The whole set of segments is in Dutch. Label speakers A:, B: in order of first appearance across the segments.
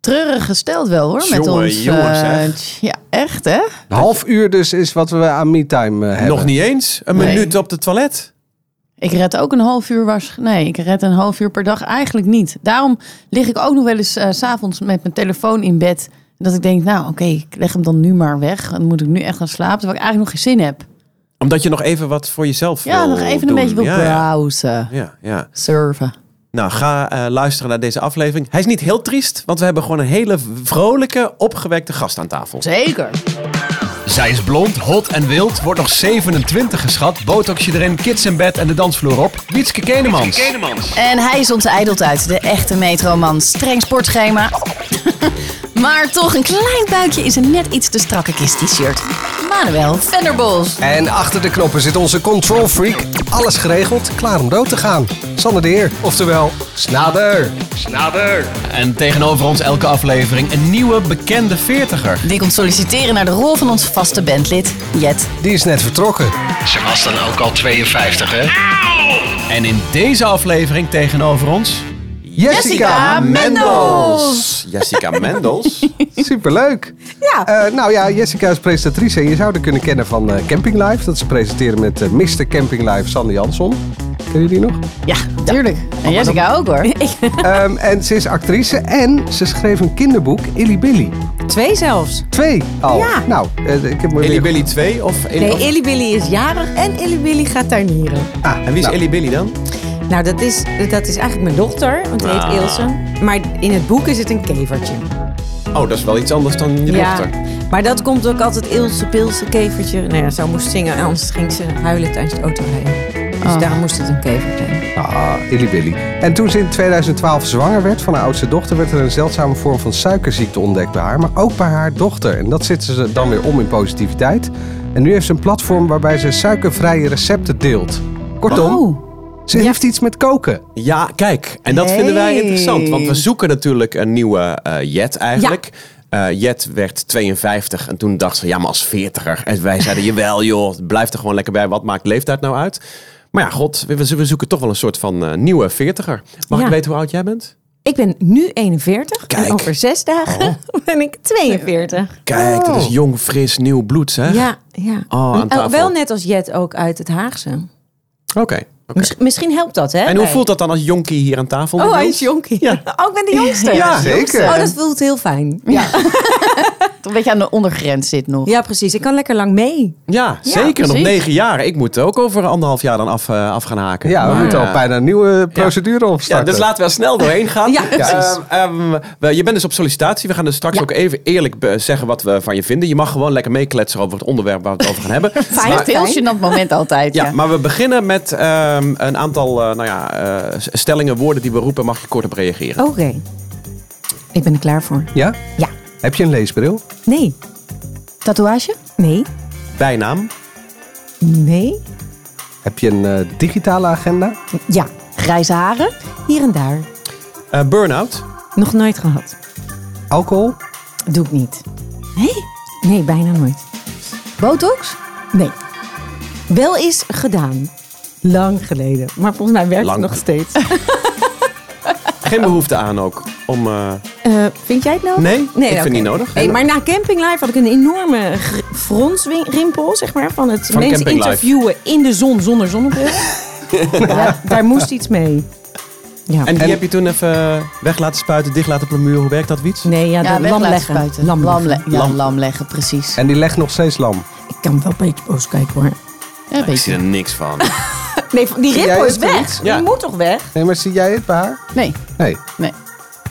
A: treurig gesteld wel hoor. Met
B: Jongen,
A: ons.
B: jongen,
A: eh,
B: zeg.
A: tj- ja, echt hè?
C: Een half uur dus is wat we aan me-time eh, hebben.
B: Nog niet eens. Een
A: Nee.
B: minuut op de toilet.
A: Ik red ook een half uur was. Nee, ik red een half uur per dag eigenlijk niet. Daarom lig ik ook nog wel eens eh, s s'avonds met mijn telefoon in bed. Dat ik denk, nou oké, ik leg hem dan nu maar weg. Dan moet ik nu echt gaan slapen. Terwijl ik eigenlijk nog geen zin heb.
B: Omdat je nog even wat voor jezelf
A: Ja,
B: wil
A: nog even
B: doen.
A: een beetje wil
B: ja, ja.
A: browsen.
B: ja, ja.
A: Surfen.
B: Nou, ga eh, luisteren naar deze aflevering. Hij is niet heel triest, want we hebben gewoon een hele vrolijke, opgewekte gast aan tafel.
A: Zeker.
D: Zij is blond, hot en wild, wordt nog 27 geschat. Botoxje erin, kids in bed en de dansvloer op. Wietske Kenemans.
A: En hij is ontijdeld uit, de echte metroman. Streng sportschema. maar toch, een klein buikje is een net iets te strakke kist t-shirt. Manuel Venderbos.
C: En achter de knoppen zit onze control freak. Alles geregeld, klaar om dood te gaan. Sanne de Heer, oftewel Snader.
D: En tegenover ons elke aflevering een nieuwe bekende veertiger.
A: Die komt solliciteren naar de rol van ons vaste bandlid, Jet.
C: Die is net vertrokken.
D: Ze was dan ook al 52, hè? En in deze aflevering tegenover ons...
A: Jessica Mendels.
B: Jessica Mendels.
C: Superleuk. Ja. nou ja, Jessica is presentatrice. En je zou haar kunnen kennen van eh, Camping Live. Dat ze presenteren met eh, Mr. Camping Live, Sanne Jansson. Kennen jullie die nog?
A: Ja, natuurlijk. En Jessica ook hoor.
C: Ehm, en ze is actrice en ze schreef een kinderboek, Illy Billy.
E: Twee zelfs.
C: Twee al.
E: Ja.
C: Nou, eh, ik heb me
B: Illy
C: weer-
B: Billy 2 of... Eli-
E: Nee, Illy Billy is jarig en Illy Billy gaat tuinieren.
C: Ah,
B: en wie is
C: nou,
B: Illy Billy dan?
E: Nou, dat is, dat is eigenlijk mijn dochter, want die
B: Ah.
E: heet Ilse. Maar in het boek is het een kevertje.
B: Oh, dat is wel iets anders dan je dochter.
E: Maar dat komt ook altijd Ilse, Pilse, kevertje. Nou ja, zo moest zingen, anders ging ze huilen tijdens het autorijden. Dus
A: Oh.
E: daarom moest het een kevertje zijn.
C: Ah, Illy Billy. En toen ze in 2012 zwanger werd van haar oudste dochter, werd er een zeldzame vorm van suikerziekte ontdekt bij haar, maar ook bij haar dochter. En dat zitten ze dan weer om in positiviteit. En nu heeft ze een platform waarbij ze suikervrije recepten deelt. Kortom, ze heeft iets met koken.
B: Ja, kijk. En dat vinden wij
E: Hey.
B: interessant. Want we zoeken natuurlijk een nieuwe eh, Jet eigenlijk. Eh, Jet werd 52 en toen dacht ze, ja maar als 40er. En wij zeiden, jawel joh, blijf er gewoon lekker bij. Wat maakt leeftijd nou uit? Maar ja, god, we, we zoeken toch wel een soort van eh, nieuwe 40er. Mag
E: Ja.
B: ik weten hoe oud jij bent?
E: Ik ben nu 41
B: Kijk. Oh.
E: en over zes dagen ben ik 42.
B: Kijk, dat is jong, fris, nieuw bloed zeg.
E: Oh. Ja, ja.
B: Oh, aan
E: En
B: tafel.
E: wel net als Jet ook uit het Haagse.
B: Oké. oké.
E: Miss- misschien helpt dat, hè?
B: En hoe
E: bij-
B: voelt dat dan als jonkie hier aan tafel?
E: Oh, hij is
B: Niels?
E: jonkie.
B: Ja.
E: Oh, ik ben de jongste.
B: Ja,
C: zeker.
E: Oh, dat voelt heel fijn. Ja.
A: Een beetje aan de ondergrens zit nog.
E: ja, precies. Ik kan lekker lang mee.
B: Ja, zeker. Nog
A: precies.
B: negen jaar. Ik moet ook over anderhalf jaar dan af, eh, af gaan haken.
C: Ja, we
B: Maar,
C: moeten
B: eh,
C: al bijna een nieuwe procedure
B: Ja,
C: opstarten.
B: dus laten we er snel doorheen gaan.
E: Ja,
B: Ehm, ehm, we- je bent dus op sollicitatie. We gaan dus straks ook even eerlijk be- zeggen wat we van je vinden. Je mag gewoon lekker meekletsen over het onderwerp waar we het over gaan hebben.
A: Het is echt een heel gênant moment altijd.
B: Ja,
A: Ja,
B: maar we beginnen met ehm, een aantal eh, nou ja, eh, stellingen, woorden die we roepen. Mag je kort op reageren?
E: Oké. Ik ben er klaar voor.
C: Ja?
E: Ja.
C: Heb je een leesbril?
E: Nee.
A: Tatoeage?
E: Nee.
B: Bijnaam,
E: Nee.
C: Heb je een eh, digitale agenda?
E: Ja.
A: Grijze haren?
E: Hier en daar.
B: Eh, burn-out,
E: Nog nooit gehad.
C: Alcohol?
E: Doe ik niet. Nee? Nee, bijna nooit.
A: Botox?
E: Nee. Wel is gedaan. Lang geleden. Maar volgens mij werkt
B: Lang.
E: het nog steeds. Oh.
B: geen behoefte aan ook. Om, eh,
E: Eh, vind jij het nodig?
B: Nee, ik vind
E: oké.
B: het niet nodig.
E: Nee, maar na Camping Live had ik een enorme gr- fronsrimpel, zeg maar, van het
B: Van
E: mensen
B: Camping Live.
E: interviewen in de zon zonder zonnebril. ja, daar moest iets mee. Ja.
B: en die heb je toen even weg laten spuiten, dicht laten plamuren. Hoe werkt dat, Wiets?
E: nee, ja, dat-
A: weg
E: lam
A: laten
E: leggen.
A: spuiten.
E: Lam
A: Lam
E: leggen.
A: le- ja, lam leggen, precies.
C: En die legt nog steeds lam.
E: Ik kan wel een beetje boos kijken hoor.
A: Ja,
B: Nou, Ik
A: weet
B: zie
A: je.
B: er niks van.
E: Nee, die
C: Jij
E: rimpel is
C: hebt er
E: weg.
B: Ja.
E: Die moet toch weg?
C: Nee, maar zie jij het bij haar?
A: Nee,
C: Nee.
A: nee.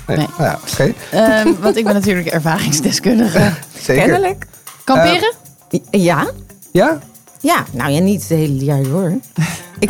C: Nee.
A: Nee.
C: Nou ja, oké.
A: Ehm, want ik ben natuurlijk ervaringsdeskundige. Eh,
C: Zeker.
E: Kennelijk.
A: Kamperen?
E: Ja?
C: Ja?
E: Ja, nou ja, niet het hele jaar hoor. Ik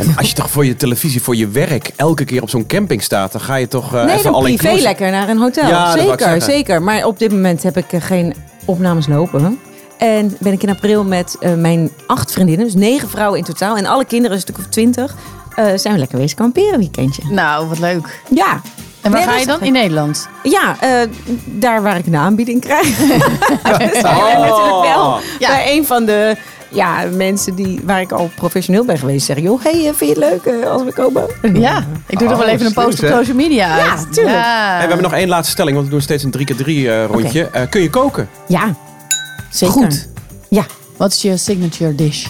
B: En als je toch voor je televisie, voor je werk, elke keer op zo'n camping staat, dan ga je toch eh
E: Nee,
B: even
E: dan
B: alleen
E: privé lekker naar een hotel.
B: Ja, dat wou ik
E: zeker,
B: zeggen.
E: zeker. Maar op dit moment heb ik eh, geen opnames lopen. En ben ik in april met eh, mijn acht vriendinnen, dus negen vrouwen in totaal, en alle kinderen, dus een stuk of twintig, eh, zijn we lekker wezen kamperen weekendje.
A: Nou, wat leuk.
E: Ja.
A: En waar
E: Nee,
A: ga
E: dat
A: je
E: is
A: dan?
E: gek.
A: In Nederland.
E: Ja, eh, daar waar Dus ik een aanbieding krijg.
B: Oh.
E: Wel bij een van de ja, mensen die, waar ik al professioneel ben geweest zeggen... joh, hey, eh, vind je het leuk eh, als we komen?
A: Ja, ik doe er
C: Oh,
A: wel even een
C: slim,
A: post op
C: zeg.
A: social media
E: Ja,
A: uit.
E: tuurlijk.
A: Ja,
B: En
E: Ehm,
B: we hebben nog één laatste stelling, want we doen steeds een 3x3 eh, rondje. Eh, kun je koken?
E: Ja, zeker.
A: Goed.
E: Ja,
A: Wat is je signature dish?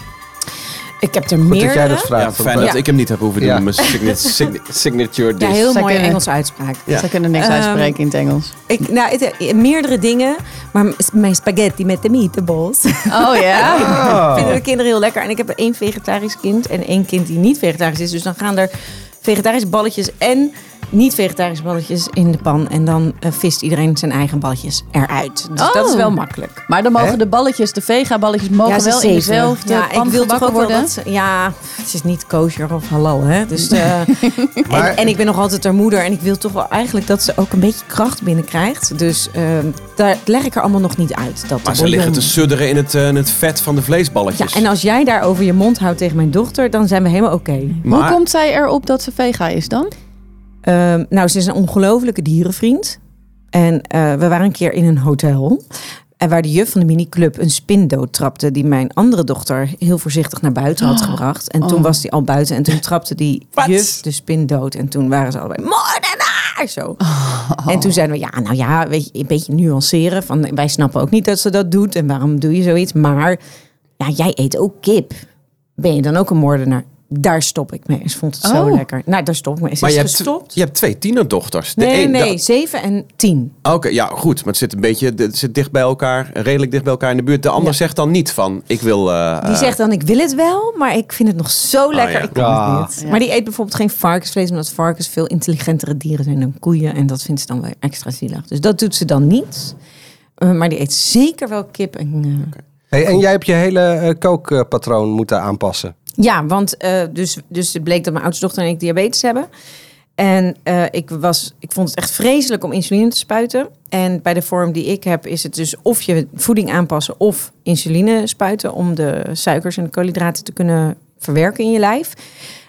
E: ik heb er
C: Goed
E: meerdere.
C: dat jij dat vraagt.
B: Ja, fijn
C: want,
B: dat ik hem niet heb hoeven doen.
C: Ja.
B: Mijn signa- signa- signature
E: Ja,
B: dish.
E: heel
A: Zij
E: mooie
A: kunnen-
E: Engelse uitspraak.
B: Ja.
A: Ze kunnen niks
E: Ehm,
A: uitspreken in het Engels.
E: Ik, nou, het- eh, meerdere dingen, maar m- mijn spaghetti met de meatballs
A: Oh ja?
E: vinden de kinderen heel lekker. En ik heb één vegetarisch kind en één kind die niet vegetarisch is. Dus dan gaan er vegetarische balletjes en niet-vegetarische balletjes in de pan. En dan eh, vist iedereen zijn eigen balletjes eruit. Dus dat is
A: Oh.
E: wel makkelijk.
A: Maar dan mogen
C: Hè?
A: de balletjes, de vega-balletjes, mogen
E: ze
A: wel in
E: zeven.
A: dezelfde
E: ja,
A: pan
E: ik wil toch
A: gebakken
E: ook wel
A: worden?
E: dat ze- ja, het is niet kosher of halal, hè? Dus, eh,
C: Maar-
E: en, en ik ben nog altijd haar moeder. En ik wil toch wel eigenlijk dat ze ook een beetje kracht binnenkrijgt. Dus eh, daar leg ik er allemaal nog niet uit. Dat
B: Maar
E: de
B: ze liggen te
E: bouillon-
B: sudderen in het, eh, in het vet van de vleesballetjes.
E: Ja, en als jij daar over je mond houdt tegen mijn dochter, dan zijn we helemaal oké.
A: Hoe
B: maar,
A: komt zij erop dat ze vega is dan?
E: Ehm, nou, ze is een ongelofelijke dierenvriend. En eh, we waren een keer in een hotel. En waar de juf van de miniclub een spin doodtrapte. Die mijn andere dochter heel voorzichtig naar buiten had
B: Oh.
E: gebracht. En toen was die al buiten. En toen trapte die juf de spin dood. En toen waren ze allebei moordenaar! Zo.
B: Oh.
E: En toen zeiden we, ja, nou ja, weet je, een beetje nuanceren. Van, wij snappen ook niet dat ze dat doet. En waarom doe je zoiets? Maar ja, jij eet ook kip. Ben je dan ook een moordenaar? Daar stop ik mee. Ze vond het zo
A: Oh.
E: lekker. Nou, daar stop ik mee. Ze
B: maar
E: is
B: je, hebt,
E: gestopt.
B: je hebt twee tienerdochters. De
E: Nee,
B: een-
E: nee,
B: de- ah,
E: 7 en 10.
B: Oké, ja, goed. Maar het zit een beetje het zit dicht bij elkaar, redelijk dicht bij elkaar in de buurt. De ander
E: Ja.
B: zegt dan niet van, ik wil... eh,
E: Die zegt dan, ik wil het wel, maar ik vind het nog zo lekker.
B: Ah, ja.
E: Ik kan
C: Ja.
E: het niet. Maar die eet bijvoorbeeld geen varkensvlees, omdat varkens veel intelligentere dieren zijn dan koeien. En dat vindt ze dan weer extra zielig. Dus dat doet ze dan niet. Eh, maar die eet zeker wel kip. En, eh,
C: Hey, en jij hebt je hele eh, kookpatroon moeten aanpassen.
E: Ja, want eh, dus, dus het bleek dat mijn oudste dochter en ik diabetes hebben. En eh, ik, was, ik vond het echt vreselijk om insuline te spuiten. En bij de vorm die ik heb is het dus of je voeding aanpassen of insuline spuiten. Om de suikers en de koolhydraten te kunnen verwerken in je lijf.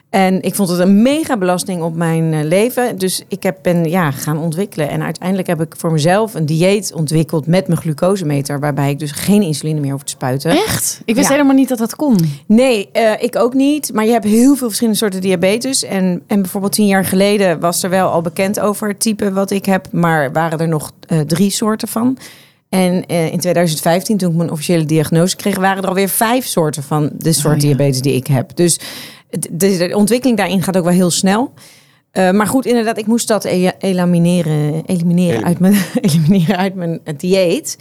E: En ik vond het een mega belasting op mijn eh, leven. Dus ik heb, ben ja, gaan ontwikkelen. En uiteindelijk heb ik voor mezelf een dieet ontwikkeld met mijn glucosemeter. Waarbij ik dus geen insuline meer hoef te spuiten.
A: Echt? Ik wist
E: Ja.
A: helemaal niet dat dat kon.
E: Nee, eh, ik ook niet. Maar je hebt heel veel verschillende soorten diabetes. En, en bijvoorbeeld tien jaar geleden was er wel al bekend over het type wat ik heb. Maar waren er nog eh, drie soorten van. En eh, in 2015, toen ik mijn officiële diagnose kreeg, waren er alweer vijf soorten van de soort
A: ja.
E: diabetes die ik heb. Dus het- de, de ontwikkeling daarin gaat ook wel heel snel. Eh, maar goed, inderdaad, ik moest dat e- elimineren, elimineren, uit mijn, elimineren uit mijn eh, dieet.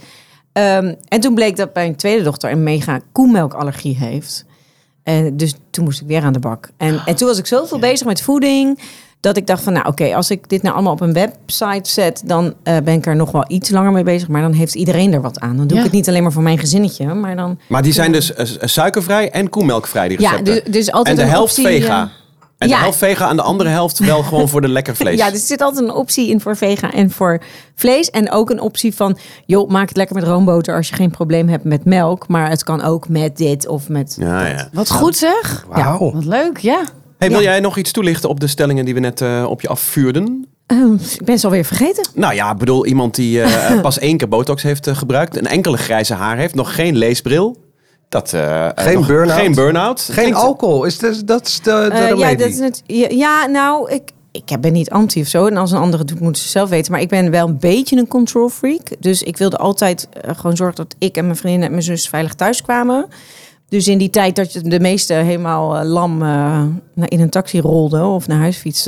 E: Ehm, en toen bleek dat mijn tweede dochter een mega koemelkallergie heeft. En dus toen moest ik weer aan de bak. En, en toen was ik zoveel bezig met voeding. Dat ik dacht van, nou oké, als ik dit nou allemaal op een website zet, dan eh, ben ik er nog wel iets langer mee bezig. Maar dan heeft iedereen er wat aan. Dan
A: Ja.
E: doe ik het niet alleen maar voor mijn gezinnetje, maar dan...
B: Maar die zijn dus eh, s- dus, eh,
E: eh,
B: dus
E: dus
A: Nou. Oh.
B: eh, Nou eh, eh,
E: Ehm, Eh, nou, Dus eh, Dus
A: Oh,
B: eh,
E: eh, eh, dus, Oh. Hmm. nou, eh, as good as it gets. En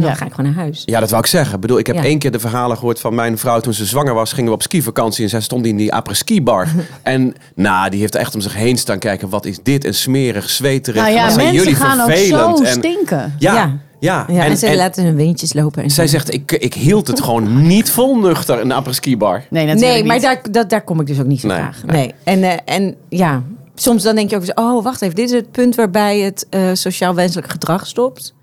A: Ja.
E: dan ga ik gewoon naar huis.
B: Ja, dat wou ik zeggen. Ik bedoel, ik heb
E: Ja.
B: één keer de verhalen gehoord van mijn vrouw toen ze zwanger was. Gingen we op skivakantie en zij stond in die après-ski-bar. en nou, die heeft echt om zich heen staan kijken. Wat is dit? En smerig, zweterig.
A: Nou ja,
B: Wat zijn
A: mensen
B: jullie
A: gaan ook
B: vervelend?
A: zo
B: en,
A: stinken.
B: ja, ja,
E: Ja. Ja, en,
B: En,
E: ze
B: en
E: laten hun windjes lopen. En
B: zij
E: zo.
B: zegt, ik, ik hield het gewoon niet vol nuchter, een après-ski-bar.
A: Nee, natuurlijk
E: nee, maar
A: niet.
E: daar, dat, daar kom ik dus ook niet zo
B: Nee,
E: graag.
B: nee.
E: Nee. En, eh, en ja, soms dan denk je ook eens... oh, wacht even, dit is het punt waarbij het eh, sociaal wenselijk gedrag stopt.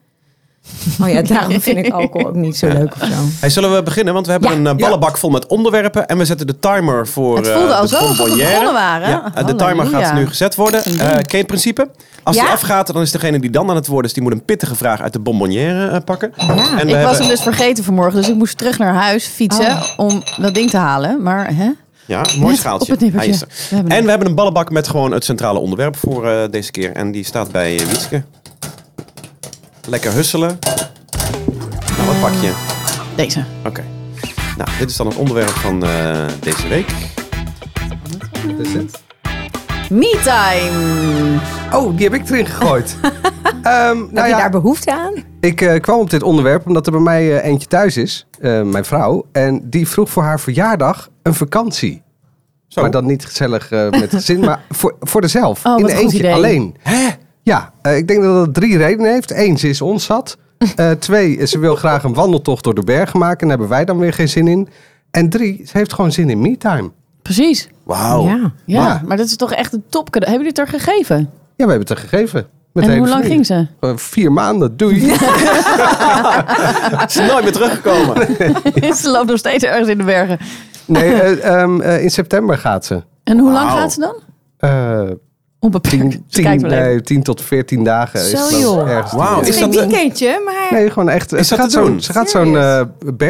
E: Oh ja, daarom vind ik alcohol ook niet zo leuk of zo.
B: Hey, zullen we beginnen? Want we hebben
E: Ja.
B: een eh, ballenbak vol met onderwerpen. En we zetten de timer voor
A: Het voelde
B: eh,
A: al
B: de
A: zo alsof we
B: bonbonnière.
A: begonnen waren.
B: Ja, eh, de timer
A: Halleluja.
B: gaat nu gezet worden. Eh ken je het principe? Als die
E: Ja.
B: afgaat, dan is degene die dan aan het woord is... die moet een pittige vraag uit de bonbonnière eh, pakken. En we
A: Ik was
B: hebben-
A: hem dus vergeten vanmorgen, dus ik moest terug naar huis fietsen om dat ding te halen. Maar hè?
B: Ja, een mooi
A: Net
B: schaaltje.
A: op het nippertje.
B: Hij is er.
A: We hebben hem.
B: en we hebben een ballenbak met gewoon het centrale onderwerp voor eh, deze keer. En die staat bij eh, Wietske. Lekker husselen. Nou, wat pak je?
A: deze.
B: Oké. Nou, dit is dan het onderwerp van eh, deze week.
C: Wat is dit?
A: Me time!
C: Oh, die heb ik erin gegooid. Ehm, nou
E: Heb je
C: ja,
E: daar behoefte aan?
C: Ik eh, kwam op dit onderwerp omdat er bij mij eh, eentje thuis is, eh, mijn vrouw. En die vroeg voor haar verjaardag een vakantie.
B: Zo.
C: Maar dan niet gezellig eh, met het gezin, maar voor, voor dezelf.
A: Oh,
C: in
A: wat
C: de
A: een goed
C: eentje
A: idee.
C: alleen.
B: Hè?
C: Ja, eh, ik denk dat dat drie redenen heeft. Eén, ze is onzat. Eh, twee, ze wil graag een wandeltocht door de bergen maken. En daar hebben wij dan weer geen zin in. En drie, ze heeft gewoon zin in me-time.
A: Precies.
B: Wauw.
E: Ja.
A: Ja,
C: Ja.
A: maar dat is toch echt een topcadeau. Hebben jullie het er gegeven?
C: Ja, we hebben het er gegeven. Met de
A: en
C: hele
A: hoe lang
C: familie.
A: ging ze?
C: Eh, vier maanden, doei.
B: Ze is nooit meer teruggekomen.
A: ze loopt nog steeds ergens in de bergen.
C: Nee, eh, ehm, eh, in september gaat ze.
A: En hoe lang
B: Wauw.
A: gaat ze dan?
C: Eh,
A: Onbeperkt.
C: tien,
A: Ze
C: tien,
A: kijkt wel even.
C: nee, tien tot 14 dagen.
E: Zo,
C: is dat
E: joh.
C: ergens.
B: Wauw,
E: Het
B: is
E: is
B: dat
E: geen
B: de-
E: weekendje, maar...
C: Nee, gewoon echt. eh,
B: Is
C: ze
B: dat
C: gaat
B: te
C: zo'n,
B: doen?
C: ze gaat zo'n eh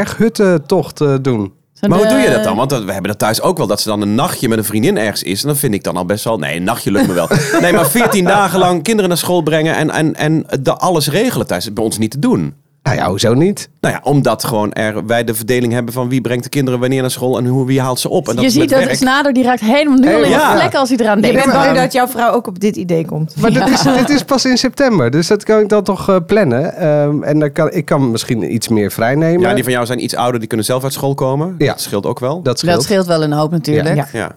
C: berghuttentocht eh, doen.
A: Zo'n,
B: Maar hoe doe je
A: eh,
B: dat dan? Want dat- we hebben dat thuis ook wel. Dat ze dan een nachtje met een vriendin ergens is. En dan vind ik dan al best wel... Nee, een nachtje lukt me wel. Nee, maar 14 dagen lang kinderen naar school brengen. En, en, en de, alles regelen thuis. Dat is bij ons niet te doen.
C: Nou ja, hoezo niet?
B: Nou ja, omdat gewoon er, wij de verdeling hebben van wie brengt de kinderen wanneer naar school en hoe, wie haalt ze op. En dat
A: je
B: is
A: ziet
B: met
A: dat
B: werk.
A: Snader die raakt helemaal nu al in
B: Ja.
A: de vlekken als hij eraan
E: Je
A: denkt. Ehm,
E: bent bang
A: Maar-
E: dat jouw vrouw ook op dit idee komt.
C: Maar dit, is, dit is pas in september, dus dat kan ik dan toch eh, plannen. Ehm, en dan kan, ik kan misschien iets meer vrijnemen.
B: Ja, die van jou zijn iets ouder, die kunnen zelf uit school komen.
C: Ja.
B: Dat scheelt ook wel.
C: Dat scheelt.
A: Dat scheelt wel een hoop natuurlijk.
E: Ja.
B: Ja.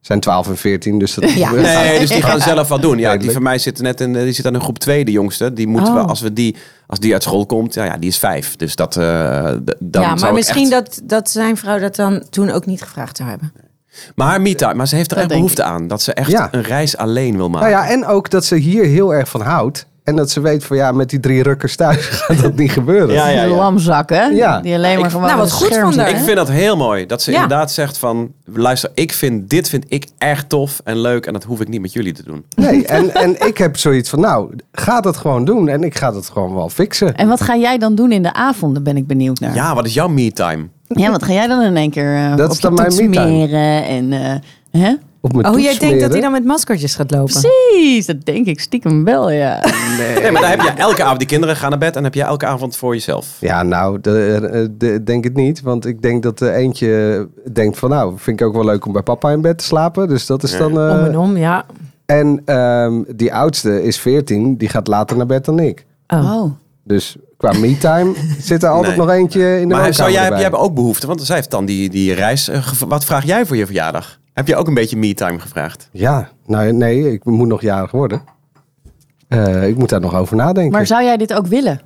C: Zijn 12 en 14, dus dat
E: Ja.
B: Nee, dus die gaan zelf wat doen. Ja, die
C: Duidelijk.
B: van mij zit net in, eh, die zit aan een groep 2, de jongste. Die moeten we, als, we die, als die uit school komt, ja, ja die is vijf. Dus dat, eh, d- dan
E: ja,
B: zou
E: maar
B: ik
E: misschien
B: echt-
E: dat, dat zijn vrouw dat dan toen ook niet gevraagd zou hebben.
B: Maar haar me-time, maar ze heeft er
A: Dat
B: echt
A: denk
B: behoefte aan. Dat ze echt
C: Ja.
B: een reis alleen wil maken.
C: Nou ja, en ook dat ze hier heel erg van houdt. En dat ze weet van ja, met die drie rukkers thuis gaat dat niet gebeuren.
B: Ja, ja,
A: Die
B: ja.
A: lamzak, hè?
C: Ja.
A: Die alleen maar gewoon
E: nou, wat
A: een
E: goed
A: scherm
E: van haar,
A: zit.
B: Ik
E: hè?
B: vind dat heel mooi. Dat ze
E: Ja.
B: inderdaad zegt van... Luister, ik vind dit vind ik echt tof en leuk. En dat hoef ik niet met jullie te doen.
C: Nee, en, en ik heb zoiets van nou, ga dat gewoon doen en ik ga dat gewoon wel fixen.
A: En wat ga jij dan doen in de avonden, ben ik benieuwd naar.
B: Ja, wat is jouw me-time?
A: Ja, wat ga jij dan in één keer eh
C: Dat
A: op
C: is
A: je
C: dan mijn
A: toets
C: me-time.
A: smeren en... eh, hè?
C: Op mijn
E: Oh,
C: toets
E: jij denkt dat hij
C: smeren.
E: dan met maskertjes gaat lopen?
A: Precies, dat denk ik stiekem wel, ja.
B: Nee, maar dan heb je elke avond... Die kinderen gaan naar bed en heb je elke avond voor jezelf.
C: Ja, nou, de, eh, de- denk het niet. Want ik denk dat de eentje denkt van... nou, vind ik ook wel leuk om bij papa in bed te slapen. Dus dat is dan... eh,
E: Om en om, ja.
C: en ehm, die oudste is 14. Die gaat later naar bed dan ik.
E: Oh.
A: Oh.
C: Dus qua me-time zit er altijd
B: Nee.
C: nog eentje in de
B: Maar
C: woonkamer
B: zou jij, heb-
C: bij.
B: jij hebt ook behoefte? Want zij heeft dan die, die reis... eh, gev- Wat vraag jij voor je verjaardag? Heb je ook een beetje me-time gevraagd?
C: Ja, nou ja, nee, ik moet nog jarig worden. Eh, ik moet daar nog over nadenken.
A: Maar zou jij dit ook willen?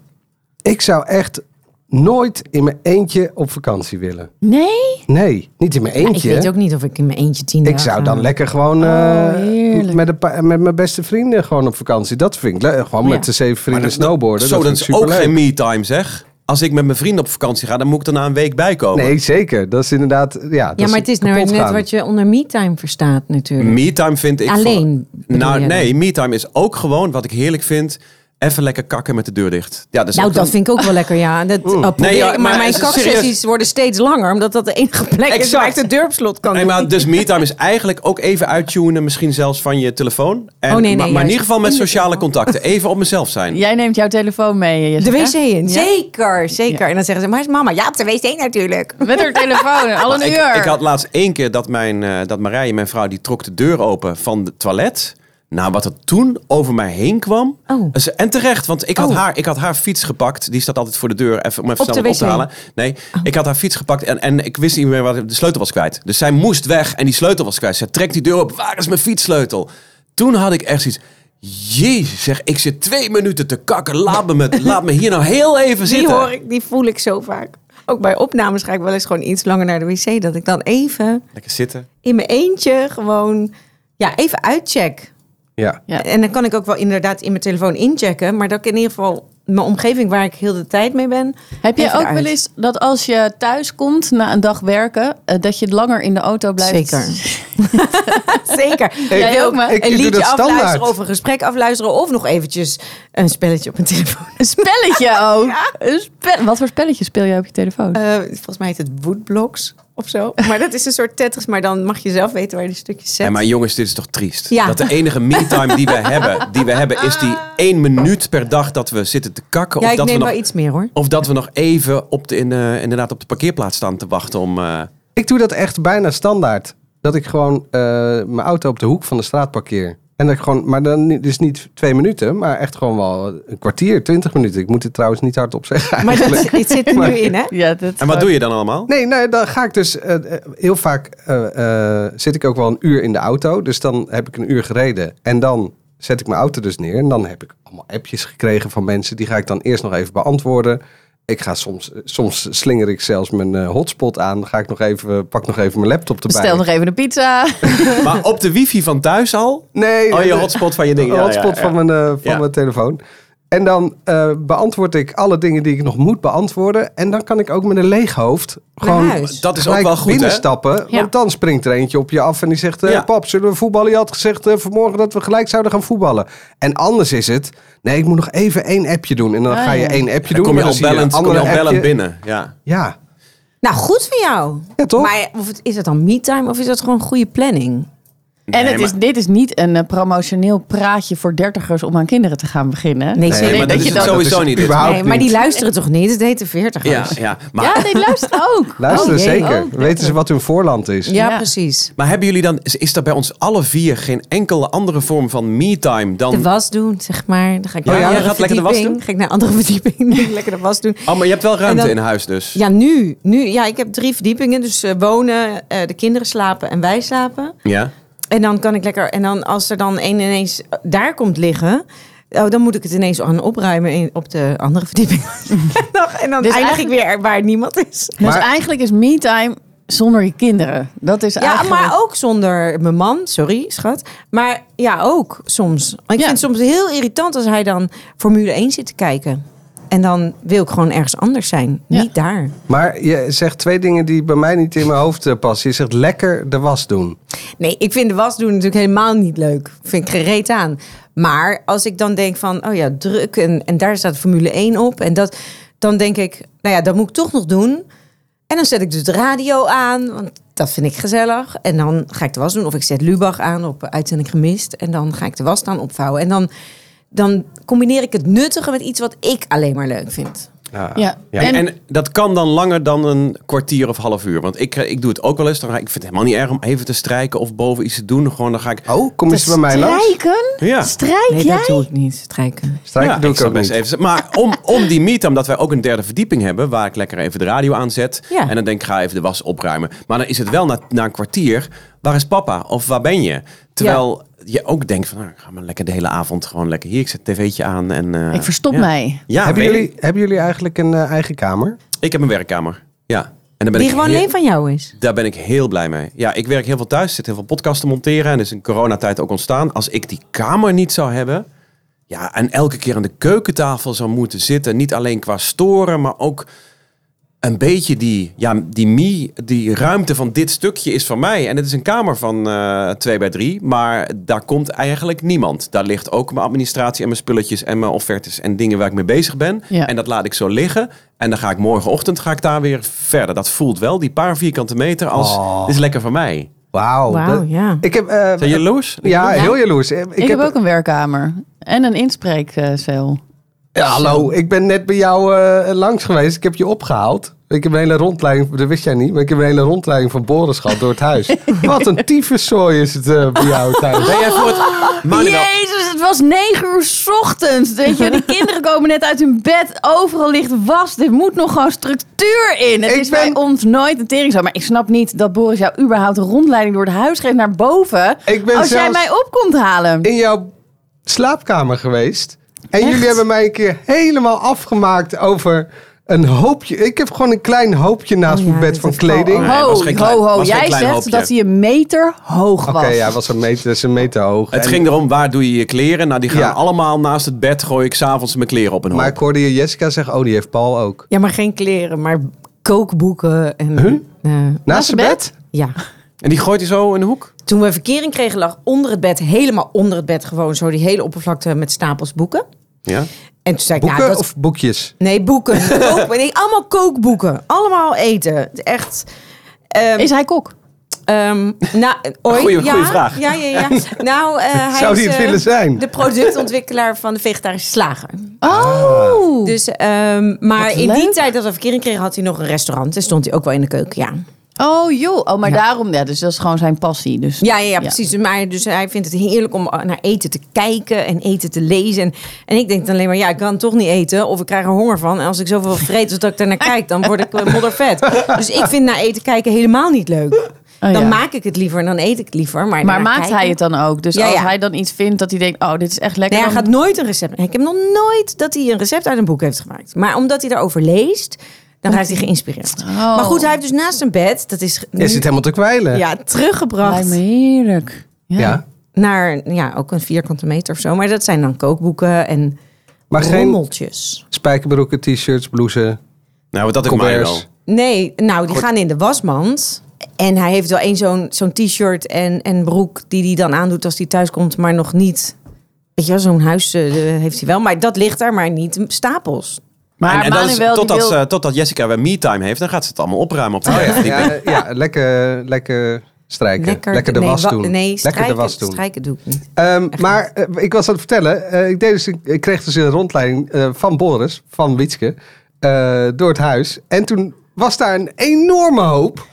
C: Ik zou echt nooit in mijn eentje op vakantie willen.
A: Nee?
C: Nee, niet in mijn
E: Ik
C: eentje.
E: weet ook niet Oh, of ik in mijn eentje tien
C: Ik
E: dagen
C: zou
E: ga.
C: dan lekker gewoon eh,
A: heerlijk.
C: met, een pa- met mijn beste vrienden gewoon op vakantie. Dat vind ik leuk. Gewoon
E: Oh, Ja.
C: met de zeven vrienden
B: Maar dat-
C: snowboarden.
B: Zo,
C: dat
B: dat
C: vind ik
B: is ook
C: superleuk.
B: geen me-time, zeg. Als ik met mijn vrienden op vakantie ga, dan moet ik er na een week bij komen.
C: Nee, zeker. Dat is inderdaad... Ja, dat
E: Ja,
C: is
E: maar het is nou
C: kapot
E: net
C: gaan.
E: wat je onder me-time verstaat natuurlijk.
B: Me-time vind ik...
E: Alleen,
B: Voor...
E: bedoel
B: Nou,
E: je dan?
B: nee. Me-time is ook gewoon wat ik heerlijk vind. Even lekker kakken met de deur dicht. Ja, dat is
E: Nou,
B: ook
E: dat
B: een-
E: vind ik ook wel lekker, ja. Dat, eh, probeer
B: Nee, ja,
E: ik, maar,
B: maar
E: mijn
B: is het
E: kaksessies
B: serieus?
E: worden steeds langer, omdat dat de enige plek is
B: Exact.
E: waar ik de deur op slot kan
B: Nee,
E: doen.
B: maar dus me-time is eigenlijk ook even uittunen, misschien zelfs van je telefoon. En,
E: Oh, nee,
B: maar,
E: nee,
B: maar in
E: juist.
B: ieder geval met
E: In de
B: sociale
E: telefoon.
B: contacten. Even op mezelf zijn.
A: Jij neemt jouw telefoon mee,
E: De
A: Jessica.
E: wc in,
A: Ja.
E: zeker, zeker. En dan zeggen ze, maar is mama? Ja, op de wc natuurlijk.
A: Met haar telefoon, al een
B: Ik,
A: uur.
B: ik had laatst één keer dat, mijn, eh, dat Marije, mijn vrouw, die trok de deur open van het toilet. Nou, wat er toen over mij heen kwam.
E: Oh.
B: Ze- En terecht, want ik had,
E: Oh.
B: haar, ik had haar fiets gepakt. Die staat altijd voor de deur, even, om even
E: Op
B: snel
E: de
B: wat op te
E: wc. Oh.
B: halen. Nee, ik had haar fiets gepakt en, en ik wist niet meer waar de sleutel was kwijt. Dus zij moest weg en die sleutel was kwijt. Zij trekt die deur op, waar is mijn fietssleutel? Toen had ik echt zoiets... Jezus, zeg, ik zit twee minuten te kakken. Laat me, met, laat me hier nou heel even
E: Die
B: zitten.
E: hoor ik, die voel ik zo vaak. Ook bij opnames ga ik wel eens gewoon iets langer naar de wc. Dat ik dan even
B: Lekker zitten.
E: in mijn eentje gewoon, ja, even uitcheck.
C: Ja.
A: Ja.
E: En dan kan ik ook wel inderdaad in mijn telefoon inchecken. Maar dat ik in ieder geval mijn omgeving waar ik heel de tijd mee ben.
A: Heb je
E: even
A: ook
E: eruit.
A: wel eens dat als je thuis komt na een dag werken, eh, dat je langer in de auto blijft?
E: Zeker. Zeker.
A: Jij
E: wil
A: ook, maar
C: ik
E: een
C: doe
E: liedje
C: dat standaard.
E: afluisteren of een gesprek afluisteren. Of nog eventjes een spelletje op mijn telefoon.
A: Een spelletje ook. Een spe- Wat voor spelletje speel jij op je telefoon?
E: Eh, volgens mij heet het Woodblocks of zo. Maar dat is een soort Tetris. Maar dan mag je zelf weten waar je de stukjes zet.
B: En maar jongens, dit is toch triest?
E: Ja. Ah.
B: Dat de enige me-time die we hebben, die we hebben, is die één minuut per dag dat we zitten te kakken.
E: ja,
B: of
E: ik
B: dat
E: neem
B: we
E: wel
B: nog,
E: iets meer hoor.
B: Of dat we nog even op de, in, eh, inderdaad op de parkeerplaats staan te wachten om... eh,
C: Ik doe dat echt bijna standaard. Dat ik gewoon eh, mijn auto op de hoek van de straat parkeer. En dat ik gewoon, maar dan niet- dus niet twee minuten, maar echt gewoon wel een kwartier, twintig minuten. Ik moet het trouwens niet hardop zeggen.
E: Maar dat,
C: eigenlijk.
E: het zit er nu in hè.
A: ja, dat
B: en wat doe je dan allemaal?
C: Nee, nee, dan ga ik dus eh, eh, heel vaak eh, eh, zit ik ook wel een uur in de auto. Dus dan heb ik een uur gereden en dan zet ik mijn auto dus neer. En dan heb ik allemaal appjes gekregen van mensen. Die ga ik dan eerst nog even beantwoorden. Ik ga soms, eh, soms slinger ik zelfs mijn eh, hotspot aan. Dan ga ik nog even, pak nog even mijn laptop erbij.
A: Bestel nog even een pizza.
B: Maar op de wifi van thuis al?
C: Nee,
B: Oh, je
C: eh,
B: hotspot van je
C: een
B: ding. Ja,
C: hotspot
B: ja, ja.
C: van, mijn, eh, van
B: Ja.
C: mijn telefoon. En dan eh, beantwoord ik alle dingen die ik nog moet beantwoorden. En dan kan ik ook met een leeg hoofd gewoon
E: huis.
B: Dat is ook
C: gelijk
B: wel goed, hè?
C: binnenstappen.
A: Ja.
C: Want dan springt er eentje op je af en die zegt... eh,
B: Ja.
C: pap, zullen we voetballen? Je had gezegd eh, vanmorgen dat we gelijk zouden gaan voetballen. En anders is het... Nee, ik moet nog even één appje doen. En dan
A: Ah,
C: ga je
A: ja.
C: één appje
B: Dan
C: doen.
B: kom je
C: maar
B: al
C: dan zie een
B: bellend, kom je al
C: ander
B: bellend
C: appje.
B: binnen. Ja.
C: Ja.
E: Nou, goed van jou.
C: Ja, toch?
E: Maar of het, is dat dan me-time of is dat gewoon goede planning?
A: en
B: Nee,
A: het is,
B: maar-
A: dit is niet een eh, promotioneel praatje voor dertigers om aan kinderen te gaan beginnen.
E: Nee,
A: Dus
E: maar
A: ik
E: dat
A: denk
E: is
A: je
E: het
A: dan-
B: sowieso
C: het
B: niet dit.
C: überhaupt
E: Nee, maar
C: niet.
E: die luisteren toch niet? Het heet de 40
B: Ja, ja. Maar,
A: Ja, nee, luister ook.
C: Luister,
A: Oh, jee.
C: zeker.
A: Oh,
C: Weten ze wat hun voorland is.
E: Ja,
A: Ja.
E: precies.
B: maar hebben jullie dan, is, is er bij ons alle vier geen enkele andere vorm van me-time
E: De
B: dan...
E: was doen, zeg maar. Dan ga ik
B: Ja,
E: naar een
B: jij
E: andere
B: gaat lekker de was
E: verdieping.
B: doen?
E: Ga ik naar een andere verdieping. doe ik lekker de was doen.
B: Oh, maar je hebt wel ruimte
E: dan-
B: in huis dus.
E: Ja, nu. nu ja, ik heb drie verdiepingen. Dus eh, wonen, eh, de kinderen slapen en wij slapen.
B: ja.
E: En dan kan ik lekker. En dan als er dan één ineens eh, daar komt liggen. Oh, dan moet ik het ineens aan opruimen in- op de andere verdieping. en dan, en dan
A: Dus
E: eindig ik
A: eigenlijk-
E: weer er waar niemand is.
A: Dus
C: Maar-
A: eigenlijk is me-time zonder je kinderen. Dat is
E: Ja,
A: eigenlijk...
E: maar ook zonder mijn man. Sorry, schat. Maar ja, ook soms. Ik vind
A: Ja.
E: het soms heel irritant als hij dan Formule 1 zit te kijken. En dan wil ik gewoon ergens anders zijn.
A: Ja.
E: Niet daar.
C: Maar je zegt twee dingen die bij mij niet in mijn hoofd eh, passen. Je zegt lekker de was doen.
E: Nee, ik vind de was doen natuurlijk helemaal niet leuk. Vind ik gereed aan. Maar als ik dan denk van, oh ja, druk en, en daar staat Formule 1 op. En dat, dan denk ik, nou ja, dat moet ik toch nog doen. En dan zet ik dus de radio aan, want dat vind ik gezellig. En dan ga ik de was doen. Of ik zet Lubach aan op eh, uitzending gemist. En dan ga ik de was dan opvouwen. En dan, dan combineer ik het nuttige met iets wat ik alleen maar leuk vind.
A: Ja.
C: Ja.
A: En,
B: En dat kan dan langer dan een kwartier of half uur. Want ik, eh, ik doe het ook wel eens. Dan ga, ik ik vind het helemaal niet erg om even te strijken of boven iets te doen. Gewoon dan ga ik...
C: Oh, kom eens bij mij langs.
A: strijken?
B: Ja.
A: Strijk
E: Nee,
A: jij?
E: dat doe ik niet, strijken.
C: Strijken
B: ja,
C: doe
B: ik
C: ik
B: zal
C: ook
B: best
C: niet.
B: even. Maar om, om die meet, omdat wij ook een derde verdieping hebben, waar ik lekker even de radio aanzet.
E: Ja.
B: En dan denk ik, ga even de was opruimen. Maar dan is het wel na, na een kwartier, waar is papa? Of waar ben je? Terwijl je ook denkt van, nou, ik ga maar lekker de hele avond gewoon lekker hier. Ik zet het tv'tje aan en... eh,
A: Ik verstop
B: ja.
A: mij.
B: Ja,
C: hebben,
B: weet
C: jullie,
B: ik.
C: hebben jullie eigenlijk een eh, eigen kamer?
B: Ik heb een werkkamer. Ja. En dan ben
E: Die
B: ik
E: gewoon
B: heel-
E: alleen van jou is.
B: Daar ben ik heel blij mee. Ja, ik werk heel veel thuis, zit heel veel podcasts te monteren en is in coronatijd ook ontstaan. Als ik die kamer niet zou hebben, ja, en elke keer aan de keukentafel zou moeten zitten, niet alleen qua storen, maar ook een beetje die, ja, die, mie, die ruimte van dit stukje is van mij. En het is een kamer van eh 2 bij 3, maar daar komt eigenlijk niemand. Daar ligt ook mijn administratie en mijn spulletjes en mijn offertes en dingen waar ik mee bezig ben.
A: Ja.
B: En dat laat ik zo liggen. En dan ga ik morgenochtend ga ik daar weer verder. Dat voelt wel, die paar vierkante meter, als
C: Oh.
B: dit is lekker voor mij.
C: Wauw.
E: Wauw,
C: dat-
E: ja.
C: Ik heb, eh,
B: Zijn jaloers?
C: ja, heel jaloers. Ik,
A: Ik, heb ook een werkkamer. En een inspreekcel.
C: Ja, hallo, ik ben net bij jou eh, langs geweest. Ik heb je opgehaald. Ik heb een hele rondleiding, dat wist jij niet, maar ik heb een hele rondleiding van Boris gehad door het huis. Wat een tyfuszooi is het eh, bij jou thuis.
B: Ben jij voor het... Manuel,
A: Jezus, het was negen uur 's ochtends. Weet je, de kinderen komen net uit hun bed. Overal ligt was. Dit moet nog gewoon structuur in. Het
C: Ik
A: is
C: ben-
A: bij ons nooit een teringzaam. Maar ik snap niet dat Boris jou überhaupt een rondleiding door het huis geeft naar boven.
C: Ik ben
A: als jij
C: zelfs-
A: mij op komt halen.
C: In jouw slaapkamer geweest. En
A: Echt?
C: jullie hebben mij een keer helemaal afgemaakt over een hoopje. Ik heb gewoon een klein hoopje naast
E: Oh ja,
C: mijn bed
E: dat
C: van
E: is wel-
B: Nee,
C: kleding. Oké,
B: het
A: ho,
B: was geen klein-
A: ho, ho.
B: was geen
A: Jij
B: klein
A: zegt
B: hoopje.
A: dat hij een meter hoog was.
C: ja, was een meter, is een meter hoog.
B: het
C: En-
B: ging erom, waar doe je je kleren? Nou, die gaan
C: Ja.
B: allemaal naast het bed. Gooi ik s'avonds mijn kleren op een hoop.
C: Maar ik hoorde je Jessica zeggen, oh die heeft Paul ook.
E: Ja, maar geen kleren, maar kookboeken. En, eh,
C: Naast zijn
A: zijn
C: bed?
E: ja.
B: En die gooit hij zo in de hoek?
E: Toen we verkering kregen, lag onder het bed, helemaal onder het bed, gewoon zo die hele oppervlakte met stapels boeken.
B: Ja.
E: En toen zei ik,
C: Boeken
E: nou, dat
C: of boekjes?
E: Nee, boeken. Kook- nee, allemaal kookboeken. Allemaal eten. Het is Echt. Ehm,
A: Is hij kok?
E: ehm, nou, ooit,
B: Goeie-
E: ja,
B: goeie vraag.
E: Ja, ja, ja. Nou, eh, hij
C: Zou
E: is,
C: die het
E: eh,
C: willen zijn?
E: De productontwikkelaar van de vegetarische slager.
C: Ah.
A: Oh.
E: Dus, ehm, maar
A: Wat
E: in die
A: leuk.
E: tijd dat we verkering kregen, had hij nog een restaurant. En stond hij ook wel in de keuken, ja.
A: Oh joh, oh, maar
E: Ja.
A: daarom, ja, dus dat is gewoon zijn passie. Dus
E: Ja, ja, ja precies. Maar dus hij vindt het heerlijk om eh, naar eten te kijken en eten te lezen. En, en ik denk dan alleen maar, ja, ik kan toch niet eten. Of ik krijg er honger van. En als ik zoveel vreet als dat ik daarnaar kijk, dan word ik eh, moddervet. Dus ik vind naar eten kijken helemaal niet leuk.
A: Oh,
E: Dan
A: ja.
E: maak ik het liever en dan eet ik het liever.
A: Maar
E: Maar, naar
A: maakt
E: kijken-
A: hij het dan ook? Dus
E: Ja,
A: als
E: ja.
A: hij dan iets vindt dat hij denkt, oh, dit is echt lekker.
E: Nee, hij
A: dan-
E: gaat nooit een recept. Ik heb nog nooit dat hij een recept uit een boek heeft gemaakt. Maar omdat hij daarover leest, dan raakt hij geïnspireerd.
A: Oh.
E: Maar goed, hij heeft dus naast zijn bed, dat is, nu-
C: Je zit helemaal te kwijlen.
E: ja,
A: Lijkt
E: teruggebracht.
A: me heerlijk. Ja.
C: Ja.
E: naar ja, ook een vierkante meter of zo. Maar dat zijn dan kookboeken en
C: Maar geen
E: rommeltjes.
C: spijkerbroeken, t-shirts, blouses.
B: Nou, dat ik maar wel.
C: Colbert's.
E: Nee, nou, die gaan in de wasmand. En hij heeft wel één zo'n zo'n t-shirt en, en broek die hij dan aandoet als hij thuis komt, maar nog niet. Weet je wel, zo'n huis eh, heeft hij wel. Maar dat ligt daar, maar niet in stapels.
A: Maar
B: en, en dat is,
A: Manuel, die
B: totdat,
A: wil...
B: ze- totdat Jessica weer me-time heeft, dan gaat ze het allemaal opruimen op de
C: Oh, Ja,
B: verdieping.
C: ja, ja, lekker, lekker strijken. Lekker, de
E: nee,
C: was
E: wa-
C: doen.
E: Nee,
C: lekker
E: strijken,
C: de was doen.
E: strijken doe ik niet.
C: Ehm, maar eh, ik was aan het vertellen. eh, ik, deed dus, een- ik kreeg dus een rondleiding eh, van Boris, van Wietske, eh, door het huis. En toen was daar een enorme hoop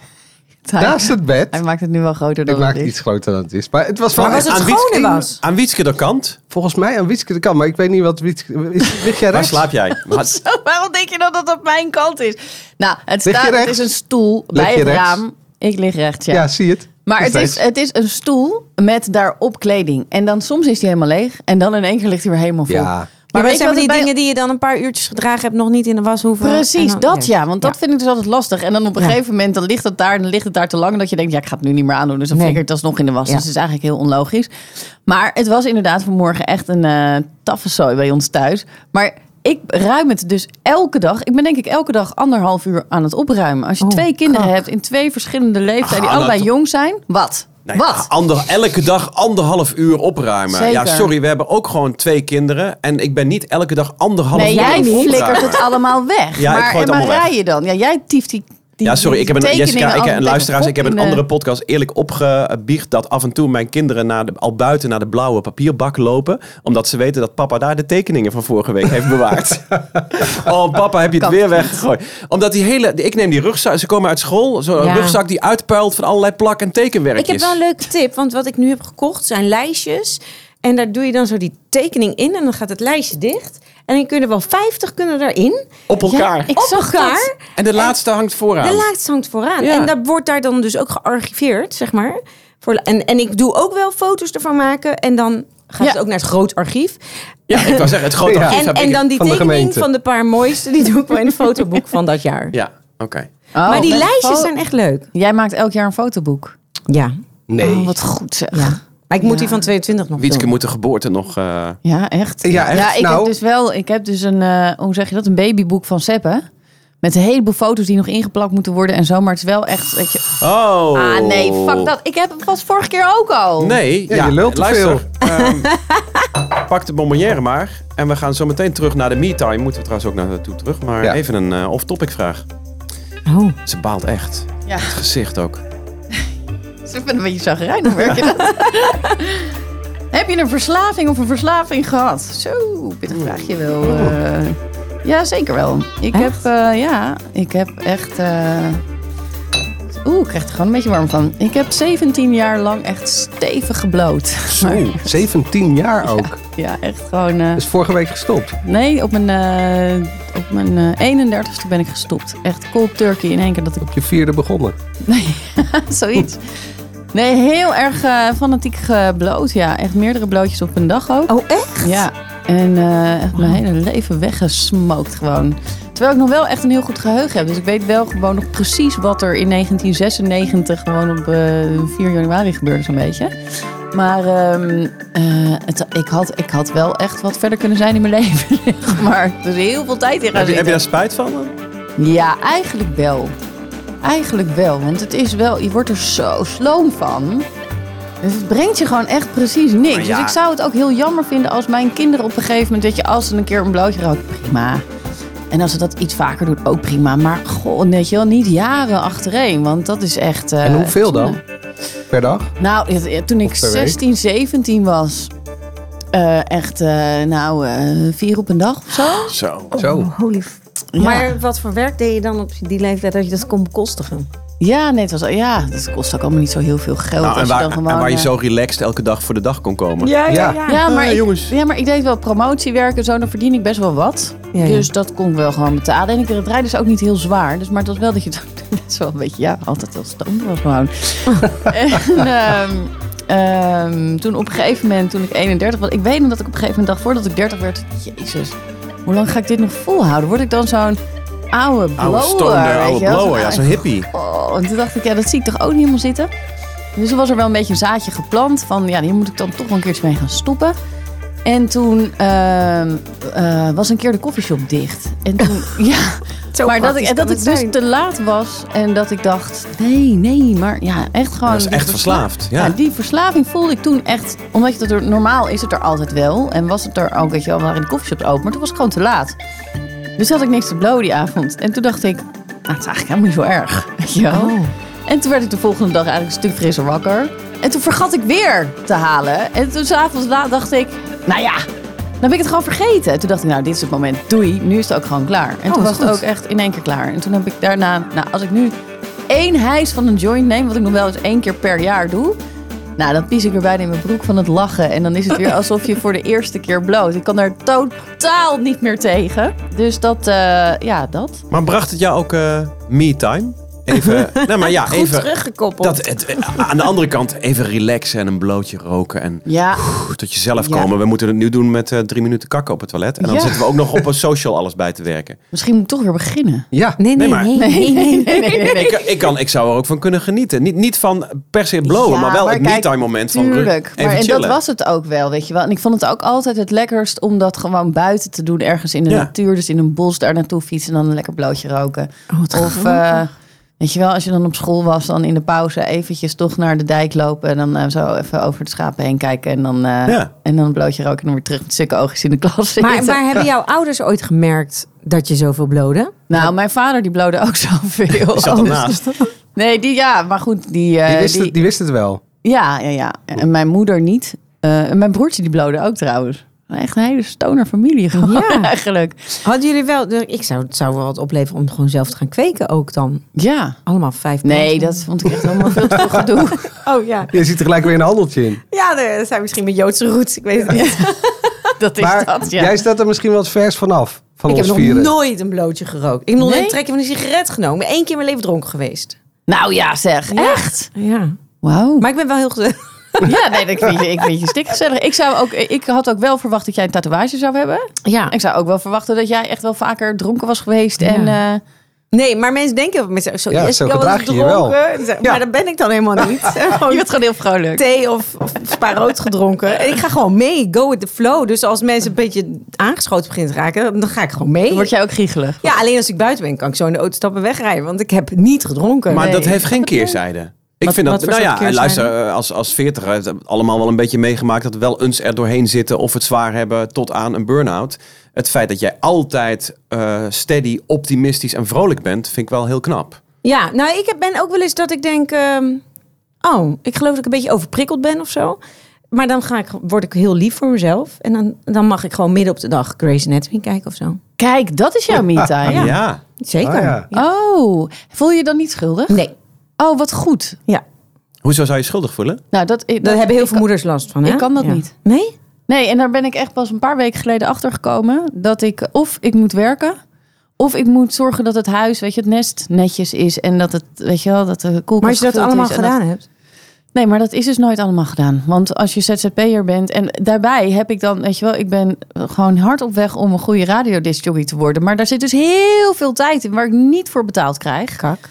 A: hij,
C: naast het bed.
A: hij maakt het nu wel groter dan
C: Ik maak
A: het
C: het
A: is.
C: iets groter dan het is. Maar het was
E: Maar
C: wel
E: was het
B: aan
E: schone
B: Wietske-
E: was?
B: Aan Wietske de kant.
C: volgens mij aan Wietske de kan. Maar ik weet niet wat Wietske... Is, lig jij
B: Waar
C: rechts?
B: slaap jij? Maar-
A: Zo, waarom denk je dat dat op mijn kant is? Nou, het,
C: Lig je
A: staat, het
C: rechts?
A: is een stoel
C: Lig
A: bij
C: je
A: het
C: rechts?
A: raam. Ik lig rechts, ja.
C: Ja, zie het.
A: Maar
C: Nog
A: het is,
C: steeds.
A: het is een stoel met daarop kleding. En dan soms is die helemaal leeg. En dan in één keer ligt hij weer helemaal vol.
C: Ja.
A: Maar
E: Maar,
A: weet
E: maar
A: je
E: zijn
A: wat
E: die
A: het bij-
E: dingen die je dan een paar uurtjes gedragen hebt, nog niet in de was hoeven?
A: Precies,
E: En dan-
A: dat ja. Want dat
E: Ja.
A: vind ik dus altijd lastig. En dan op een
E: Ja.
A: gegeven moment dan ligt het daar, dan ligt het daar te lang. Dat je denkt, ja, ik ga het nu niet meer aandoen. Dus dan
E: Nee.
A: flikker ik het alsnog in de was.
E: Ja.
A: Dus het is eigenlijk heel onlogisch. Maar het was inderdaad vanmorgen echt een eh taffe zooi bij ons thuis. Maar ik ruim het dus elke dag. Ik ben denk ik elke dag anderhalf uur aan het opruimen. Als je
E: Oh,
A: twee kinderen
E: kak.
A: hebt in twee verschillende leeftijden, die
B: Ah,
A: allebei
B: dat-
A: jong zijn. Wat?
B: Nou ja,
A: Wat?
B: ander- elke dag anderhalf uur opruimen.
A: Zeker.
B: Ja, sorry, we hebben ook gewoon twee kinderen. En ik ben niet elke dag anderhalf
A: Nee,
B: uur aan
A: jij
B: het
A: flikkert
B: opruimen.
A: het allemaal weg.
B: Ja, ik
A: maar
B: gooi het
A: en
B: allemaal weg.
A: waar rij je dan? Ja, jij tieft die. die
B: Ja, sorry, ik heb een,
A: tekeningen
B: Jessica, ik,
A: altijd
B: en
A: tegen
B: luisteraars,
A: de
B: ik heb
A: kop
B: een
A: in eh, de-
B: andere podcast eerlijk opgebiecht dat af en toe mijn kinderen naar de, al buiten naar de blauwe papierbak lopen. Omdat ze weten dat papa daar de tekeningen van vorige week heeft bewaard. oh, papa, heb je het
A: Kan
B: weer weggegooid. Omdat die hele, die- ik neem die rugzak, ze komen uit school, zo'n
E: Ja.
B: rugzak die uitpuilt van allerlei plak- en tekenwerkjes.
E: Ik heb wel een leuke tip, want wat ik nu heb gekocht zijn lijstjes. En daar doe je dan zo die tekening in en dan gaat het lijstje dicht. En dan kunnen er wel 50 kunnen erin.
B: Op elkaar.
A: Ik
E: op
A: zag
E: elkaar.
B: en de laatste hangt vooraan.
E: De laatste hangt vooraan.
B: Ja.
E: En dat wordt daar dan dus ook gearchiveerd, zeg maar. Voor, en, en ik doe ook wel foto's ervan maken. En dan gaat
A: Ja.
E: het ook naar het groot archief.
B: Ja, ik wou zeggen, het grote
C: Ja.
B: archief
E: en
B: heb
E: en
B: ik-
E: dan die
C: van de
E: tekening
C: gemeente.
E: van de paar mooiste, die doe ik wel in het fotoboek van dat jaar.
B: Ja, oké.
A: Oh,
E: maar die
A: met
E: lijstjes
A: fo-
E: zijn echt leuk.
A: Jij maakt elk jaar een fotoboek.
E: Ja.
C: Nee.
A: Oh, wat goed zeg.
E: ja.
A: Ja,
E: Maar ik moet die van 22 nog
B: Wietske
E: doen.
B: moet de geboorte nog... eh,
A: echt.
C: Ja, echt?
A: ik
C: Nou.
A: heb dus wel, ik heb dus een, eh, hoe zeg je dat, een babyboek van Seppe. Met een heleboel foto's die nog ingeplakt moeten worden en zo. Maar het is wel echt, weet je...
B: Oh.
A: Ah nee, fuck dat. Ik heb hem vast vorige keer ook al.
B: Nee,
C: Ja, je lult te
B: luister, ehm, pak de bonbonnière maar. En we gaan zo meteen terug naar de me-time. Moeten we trouwens ook naar naartoe terug. Maar
C: Ja.
B: even een eh, off-topic vraag.
E: Oh.
B: Ze baalt echt.
A: Ja,
B: Het gezicht ook.
A: dus ik ben een beetje zagrijnig, merk je dat? Nee, Heb je een verslaving of een verslaving gehad? Zo, pittig vraagje wel. eh. ja, zeker wel. Ik
E: Echt?
A: heb, eh, ja, ik heb echt... eh, Oeh, ik krijg er gewoon een beetje warm van. Ik heb 17 jaar lang echt stevig gebloot.
C: Zo, 17 jaar ook.
A: Ja, echt gewoon... eh,
C: Is vorige week gestopt.
A: nee, op mijn, eh, op mijn eh, 31ste ben ik gestopt. Echt cold turkey in één keer dat ik
C: Je vierde begonnen.
A: zoiets... Nee, heel erg eh, fanatiek gebloot. Ja, echt meerdere blootjes op een dag ook.
E: Oh, echt?
A: Ja, en eh, echt mijn hele leven weggesmookt gewoon. Terwijl ik nog wel echt een heel goed geheugen heb. Dus ik weet wel gewoon nog precies wat er in 1996 gewoon op eh, 4 januari gebeurde zo'n beetje. Maar ehm, eh, het, ik, had, ik had wel echt wat verder kunnen zijn in mijn leven. zeg maar dus heel veel tijd in gaan
B: Heb je, heb je
A: zitten.
B: daar spijt van? dan?
A: Ja, eigenlijk wel. Eigenlijk wel, want het is wel, je wordt er zo sloom van. Dus het brengt je gewoon echt precies niks.
B: ja.
A: Dus ik zou het ook heel jammer vinden als mijn kinderen op een gegeven moment, dat je als ze een keer een blootje roken, prima. En als ze dat iets vaker doen, ook prima. Maar goh, weet je wel, niet jaren achtereen, want dat is echt... eh,
C: en hoeveel dan? Per dag?
A: nou, het- het- toen ik
C: Of per week?
A: 16, 17 was, eh, echt, eh, nou, eh, vier op een dag of zo.
B: Zo.
A: Oh.
C: Zo.
E: Oh, Holy f-
A: Ja.
E: Maar wat voor werk deed je dan op die leeftijd dat je dat kon bekostigen?
A: Ja, nee, het was, ja, dat kost ook allemaal niet zo heel veel geld.
B: Nou, en,
A: als
B: waar,
A: je dan gewoon,
B: en waar je
A: eh,
B: zo relaxed elke dag voor de dag kon komen.
C: ja,
A: Ja, maar,
B: Ah,
A: ik,
B: jongens.
A: ja, maar ik deed wel promotiewerk en zo, dan verdien ik best wel wat.
E: Ja, ja.
A: Dus dat kon ik wel gewoon betalen. En ik het rijden is ook niet heel zwaar. Dus, maar het was wel dat je het best wel een beetje, ja, altijd wel stom was gewoon. en ehm, ehm, toen op een gegeven moment, toen ik 31 was, ik weet nog dat ik op een gegeven moment dacht, voordat ik 30 werd, jezus, hoe lang ga ik dit nog volhouden? Word ik dan zo'n oude blower?
B: Oude stoner,
A: weet
B: oude
A: je wel?
B: blower. Ja,
A: Zo'n
B: zo'n hippie.
A: Oh, en toen dacht ik, ja, dat zie ik toch ook niet helemaal zitten. Dus er was er wel een beetje een zaadje geplant van, ja, hier moet ik dan toch wel een keertje mee gaan stoppen. En toen ehm, eh, was een keer de koffieshop dicht. En toen, ja,
E: Zo
A: maar dat
E: praktisch
A: ik, en
E: kan
A: dat
E: het
A: ik dus
E: zijn.
A: te laat was en dat ik dacht, nee, nee, maar ja, echt gewoon.
B: Dat is
A: die
B: echt verslaafd. Ja.
A: ja. die verslaving voelde ik toen echt, omdat je dat er, normaal is het er altijd wel. En was het er ook, weet je wel, we waren in de koffieshops open, maar toen was het gewoon te laat. Dus had ik niks te blowen die avond. En toen dacht ik, nou, het is eigenlijk helemaal niet zo erg. Weet je wel? En toen werd ik de volgende dag eigenlijk een stuk frisser wakker. En toen vergat ik weer te halen. En toen s'avonds laat dacht ik, nou ja, dan ben ik het gewoon vergeten. En toen dacht ik, nou, dit is het moment. Doei, nu is het ook gewoon klaar. En
E: Oh,
A: toen was
E: dat is
A: het ook
E: goed.
A: echt in één keer klaar. En toen heb ik daarna, nou, als ik nu één hijs van een joint neem, wat ik nog wel eens één keer per jaar doe. Nou, dan pies ik weer bijna in mijn broek van het lachen. En dan is het weer alsof je voor de eerste keer bloot. Ik kan daar totaal niet meer tegen. Dus dat, eh, ja, dat.
B: Maar bracht het jou ook eh me-time? Even, nou maar ja,
E: Goed
B: even...
E: teruggekoppeld.
B: Dat, het, eh, aan de andere kant, even relaxen en een blootje roken. En
A: Ja,
B: Oeh, tot jezelf
A: Ja.
B: komen. We moeten het nu doen met eh, drie minuten kakken op het toilet. En dan
A: Ja.
B: zitten we ook nog op een social alles bij te werken.
A: misschien moet ik toch weer beginnen.
C: Ja.
E: Nee, nee,
B: Nee, maar-
E: nee. nee, nee.
B: Ik, kan- ik, kan, ik zou er ook van kunnen genieten. Niet, niet van per se blowen,
A: Ja,
B: maar wel het
A: kijk,
B: me-time moment van ru-
A: Tuurlijk,
B: even
A: maar en
B: chillen.
A: dat was het ook wel, weet je wel. En ik vond het ook altijd het lekkerst om dat gewoon buiten te doen, ergens in de
B: Ja.
A: natuur, dus in een bos daar naartoe fietsen en dan een lekker blootje roken.
E: Oh, wat
A: Of eh, weet je wel, als je dan op school was, dan in de pauze eventjes toch naar de dijk lopen en dan eh, zo even over de schapen heen kijken en dan, eh,
B: Ja.
A: en dan een blootje roken en dan weer terug met stukken oogjes in de klas zitten.
E: Maar, maar hebben jouw ouders ooit gemerkt dat je zoveel blode?
A: nou, mijn vader die blode ook zoveel.
B: Ik zat
A: Oh,
B: ernaast.
A: dus- nee, die ja, maar goed, die, eh,
C: Die wist,
A: die-
C: het, die wist het wel.
A: Ja, ja, ja. En mijn moeder niet. Eh, en mijn broertje die blode ook trouwens. Echt een hele stoner familie gewoon
E: Ja.
A: eigenlijk.
E: Hadden jullie wel... Ik zou, het zou wel wat opleveren om gewoon zelf te gaan kweken ook dan.
A: Ja.
E: Allemaal vijf
A: Nee,
E: mensen.
A: dat vond ik echt allemaal veel te veel gedoe.
E: Oh ja.
C: Je ziet er gelijk weer een handeltje in.
E: Ja, dat zijn misschien mijn Joodse roots. Ik weet het niet.
A: Dat is
C: maar
A: dat, ja.
C: jij staat er misschien wat vers vanaf. Van
E: ik heb
C: ons
E: nog
C: vieren.
E: nooit een blootje gerookt. Ik heb nog
A: Nee?
E: een trekje van een sigaret genomen. Ik ben één keer in mijn leven dronken geweest.
A: Nou ja, zeg.
E: Ja.
A: Echt?
E: Ja.
A: Wauw.
E: Maar ik ben wel heel... ge-
A: Ja, nee, ik vind je, ik vind je stikgezellig. Ik, zou ook, ik had ook wel verwacht dat jij een tatoeage zou hebben.
E: Ja.
A: Ik zou ook wel verwachten dat jij echt wel vaker dronken was geweest. En,
E: Ja.
A: eh,
E: Nee, maar mensen denken... Zo, zo,
C: Ja,
E: yes,
C: zo
E: ik was
C: gedraag je je
E: dronken.
C: Ja.
E: Maar dat ben ik dan helemaal niet.
A: je bent gewoon heel vrolijk.
E: thee of, of spaarrood gedronken. En ik ga gewoon mee. Go with the flow. Dus als mensen een beetje aangeschoten beginnen te raken, dan ga ik gewoon mee.
A: Dan word jij ook giegelig.
E: Ja, alleen als ik buiten ben, kan ik zo in de auto stappen en wegrijden. Want ik heb niet gedronken.
B: Maar
A: Nee.
B: dat heeft geen keerzijde. Ik
E: Wat-
B: vind dat,
E: wat voor
B: nou
E: soort
B: ja,
E: keerzijde?
B: luister, eh, als, als veertiger heeft het allemaal wel een beetje meegemaakt dat we wel eens er doorheen zitten of het zwaar hebben tot aan een burn-out. Het feit dat jij altijd eh, steady, optimistisch en vrolijk bent, vind ik wel heel knap.
E: Ja, nou, ik heb, ben ook wel eens dat ik denk... ehm, oh, ik geloof dat ik een beetje overprikkeld ben of zo. maar dan ga ik, word ik heel lief voor mezelf. En dan, dan mag ik gewoon midden op de dag Grey's Anatomy kijken of zo.
A: Kijk, dat is jouw me-time.
E: Ja.
B: Ja.
E: Zeker.
C: Ah, ja.
A: Oh, voel je je dan niet schuldig?
E: Nee.
A: Oh, wat goed.
E: Ja.
B: Hoezo zou je schuldig voelen?
A: Nou, dat, dat,
E: Daar hebben heel
A: ik-
E: veel moeders last van. Hè?
A: ik kan dat
E: Ja.
A: niet.
E: Nee?
A: Nee, en daar ben ik echt pas een paar weken geleden achter gekomen dat ik of ik moet werken, of ik moet zorgen dat het huis, weet je, het nest netjes is en dat het, weet je wel, dat de koelkast
E: Maar als je dat
A: gevuld
E: allemaal
A: is en dat-
E: gedaan hebt.
A: Nee, maar dat is dus nooit allemaal gedaan. Want als je ZZP'er bent en daarbij heb ik dan, weet je wel, ik ben gewoon hard op weg om een goede radiodiscjockey te worden. Maar daar zit dus heel veel tijd in waar ik niet voor betaald krijg.
E: Kak.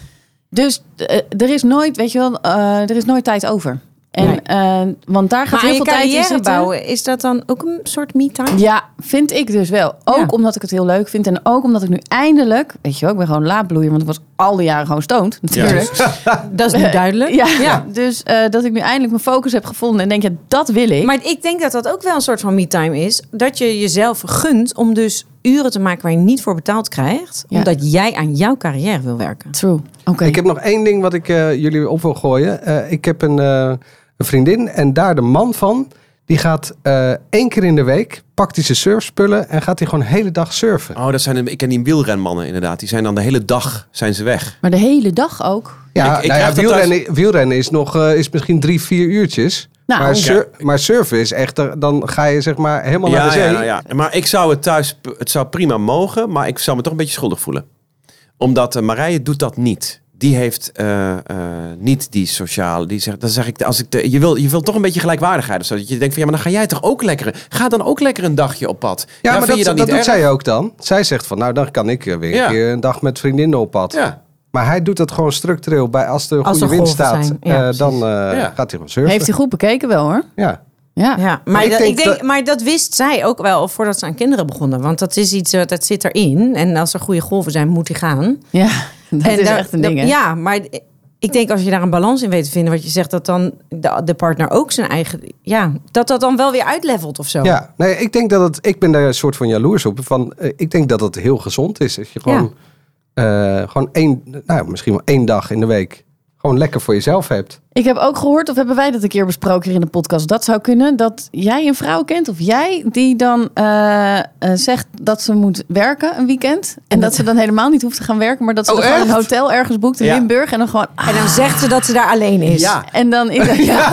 A: Dus eh, er is nooit, weet je wel, eh, er is nooit tijd over. En,
E: Nee.
A: eh, want daar gaat
E: Maar
A: heel
E: aan je
A: veel tijd in
E: carrière
A: zitten.
E: bouwen, is dat dan ook een soort me-time?
A: Ja, vind ik dus wel. Ook
E: Ja.
A: omdat ik het heel leuk vind. En ook omdat ik nu eindelijk, weet je wel, ik ben gewoon laadbloeier. Want ik was al die jaren gewoon stoned, natuurlijk.
E: Dat dus is nu duidelijk.
A: Ja, dus eh, dat ik nu eindelijk mijn focus heb gevonden. En denk, ja, dat wil ik.
E: Maar ik denk dat dat ook wel een soort van me-time is. Dat je jezelf gunt om dus uren te maken waar je niet voor betaald krijgt.
A: Ja.
E: Omdat jij aan jouw carrière wil werken.
A: True. Oké.
C: Ik heb nog één ding wat ik eh, jullie op wil gooien. Eh, ik heb een, eh, een vriendin en daar de man van. Die gaat eh, één keer in de week, pakt hij zijn surfspullen en gaat hij gewoon de hele dag surfen.
B: Oh, dat zijn, de- ik ken die wielrenmannen inderdaad. Die zijn dan de hele dag zijn ze weg.
A: Maar de hele dag ook.
C: Ja,
B: Ik- ik
C: nou ja,
B: krijg dat
C: wielrennen, wielrennen is, nog, eh, is misschien drie, vier uurtjes.
A: Nou,
C: maar,
A: ja.
C: sur- maar surfen is echt, eh, dan ga je zeg maar helemaal naar de
B: Ja, ja,
C: zee.
B: nou ja. Maar ik zou het thuis, het zou prima mogen, maar ik zou me toch een beetje schuldig voelen. Omdat eh, Marije doet dat niet. Die heeft eh, eh, niet die sociale. Die zegt, dan zeg ik, als ik de, je, wil, je wil toch een beetje gelijkwaardigheid. of zo. dat je denkt van ja, maar dan ga jij toch ook lekker. Ga dan ook lekker een dagje op pad.
C: Ja, maar dat,
B: vind je
C: dat
B: dan
C: doet
B: niet erg?
C: zij ook dan. Zij zegt van, nou dan kan ik eh, weer
B: Ja.
C: een, keer een dag met vriendinnen op pad.
B: Ja.
C: Maar hij doet dat gewoon structureel. Bij, als er een
E: Als
C: goede
E: er
C: wind
E: golven
C: staat,
E: zijn. Ja,
C: eh,
E: precies.
C: dan eh, gaat hij gewoon surfen.
A: Heeft hij goed bekeken wel hoor.
C: ja.
A: Ja.
E: Ja, maar,
C: ik
E: dat,
C: denk
E: ik denk,
C: dat-
E: maar dat wist zij ook wel voordat ze aan kinderen begonnen. Want dat is iets, eh, dat zit erin. En als er goede golven zijn, moet die gaan.
A: Ja, dat
E: en
A: is
E: daar-
A: echt een
E: dat-
A: ding hè.
E: Ja, maar ik denk als je daar een balans in weet te vinden, wat je zegt, dat dan de, de partner ook zijn eigen. Ja, dat dat dan wel weer uitlevelt of zo.
A: Oh.
C: Ja, nee, ik denk dat het. Ik ben daar een soort van jaloers op. Van, eh, ik denk dat het heel gezond is. Dat je gewoon, eh, gewoon één, nou, misschien wel één dag in de week. gewoon lekker voor jezelf hebt.
A: Ik heb ook gehoord, of hebben wij dat een keer besproken hier in de podcast? Dat zou kunnen dat jij een vrouw kent, of jij, die dan eh, eh, zegt dat ze moet werken een weekend. En dat ze dan helemaal niet hoeft te gaan werken, maar dat ze
B: Oh,
A: dan gewoon een
B: echt?
A: hotel ergens boekt in
B: Ja.
A: Limburg. En dan gewoon. ah,
E: En dan zegt ze dat ze daar alleen is.
B: Ja.
A: en dan is dat. Ja.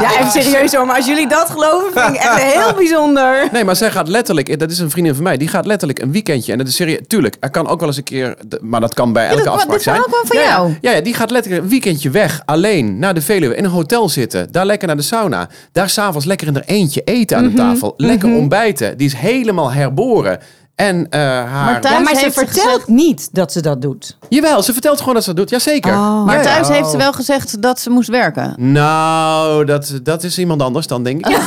E: Ja, even serieus hoor, maar als jullie dat geloven, vind ik echt heel bijzonder.
B: Nee, maar zij gaat letterlijk, eh, dat is een vriendin van mij, die gaat letterlijk een weekendje. En dat is serieus, tuurlijk, er kan ook wel eens een keer, d- maar dat kan bij elke
A: dat- dit
B: afspraak zijn.
A: verhaal kwam van
B: ja, ja.
A: jou.
B: Ja, ja, die gaat letterlijk een weekendje weg, alleen naar de Veluwe, in een hotel zitten. Daar lekker naar de sauna. Daar s'avonds lekker in haar eentje eten aan de tafel. Lekker ontbijten. Die is helemaal herboren. En eh, haar...
A: Maar thuis-
E: maar ze
A: heeft ze
E: vertelt
A: gezegd-
E: niet dat ze dat doet.
B: Jawel, ze vertelt gewoon dat ze dat doet. Jazeker.
E: Oh.
A: Maar
B: Ja, ja.
A: thuis heeft ze wel gezegd dat ze moest werken.
B: Nou, dat, dat is iemand anders dan, denk ik.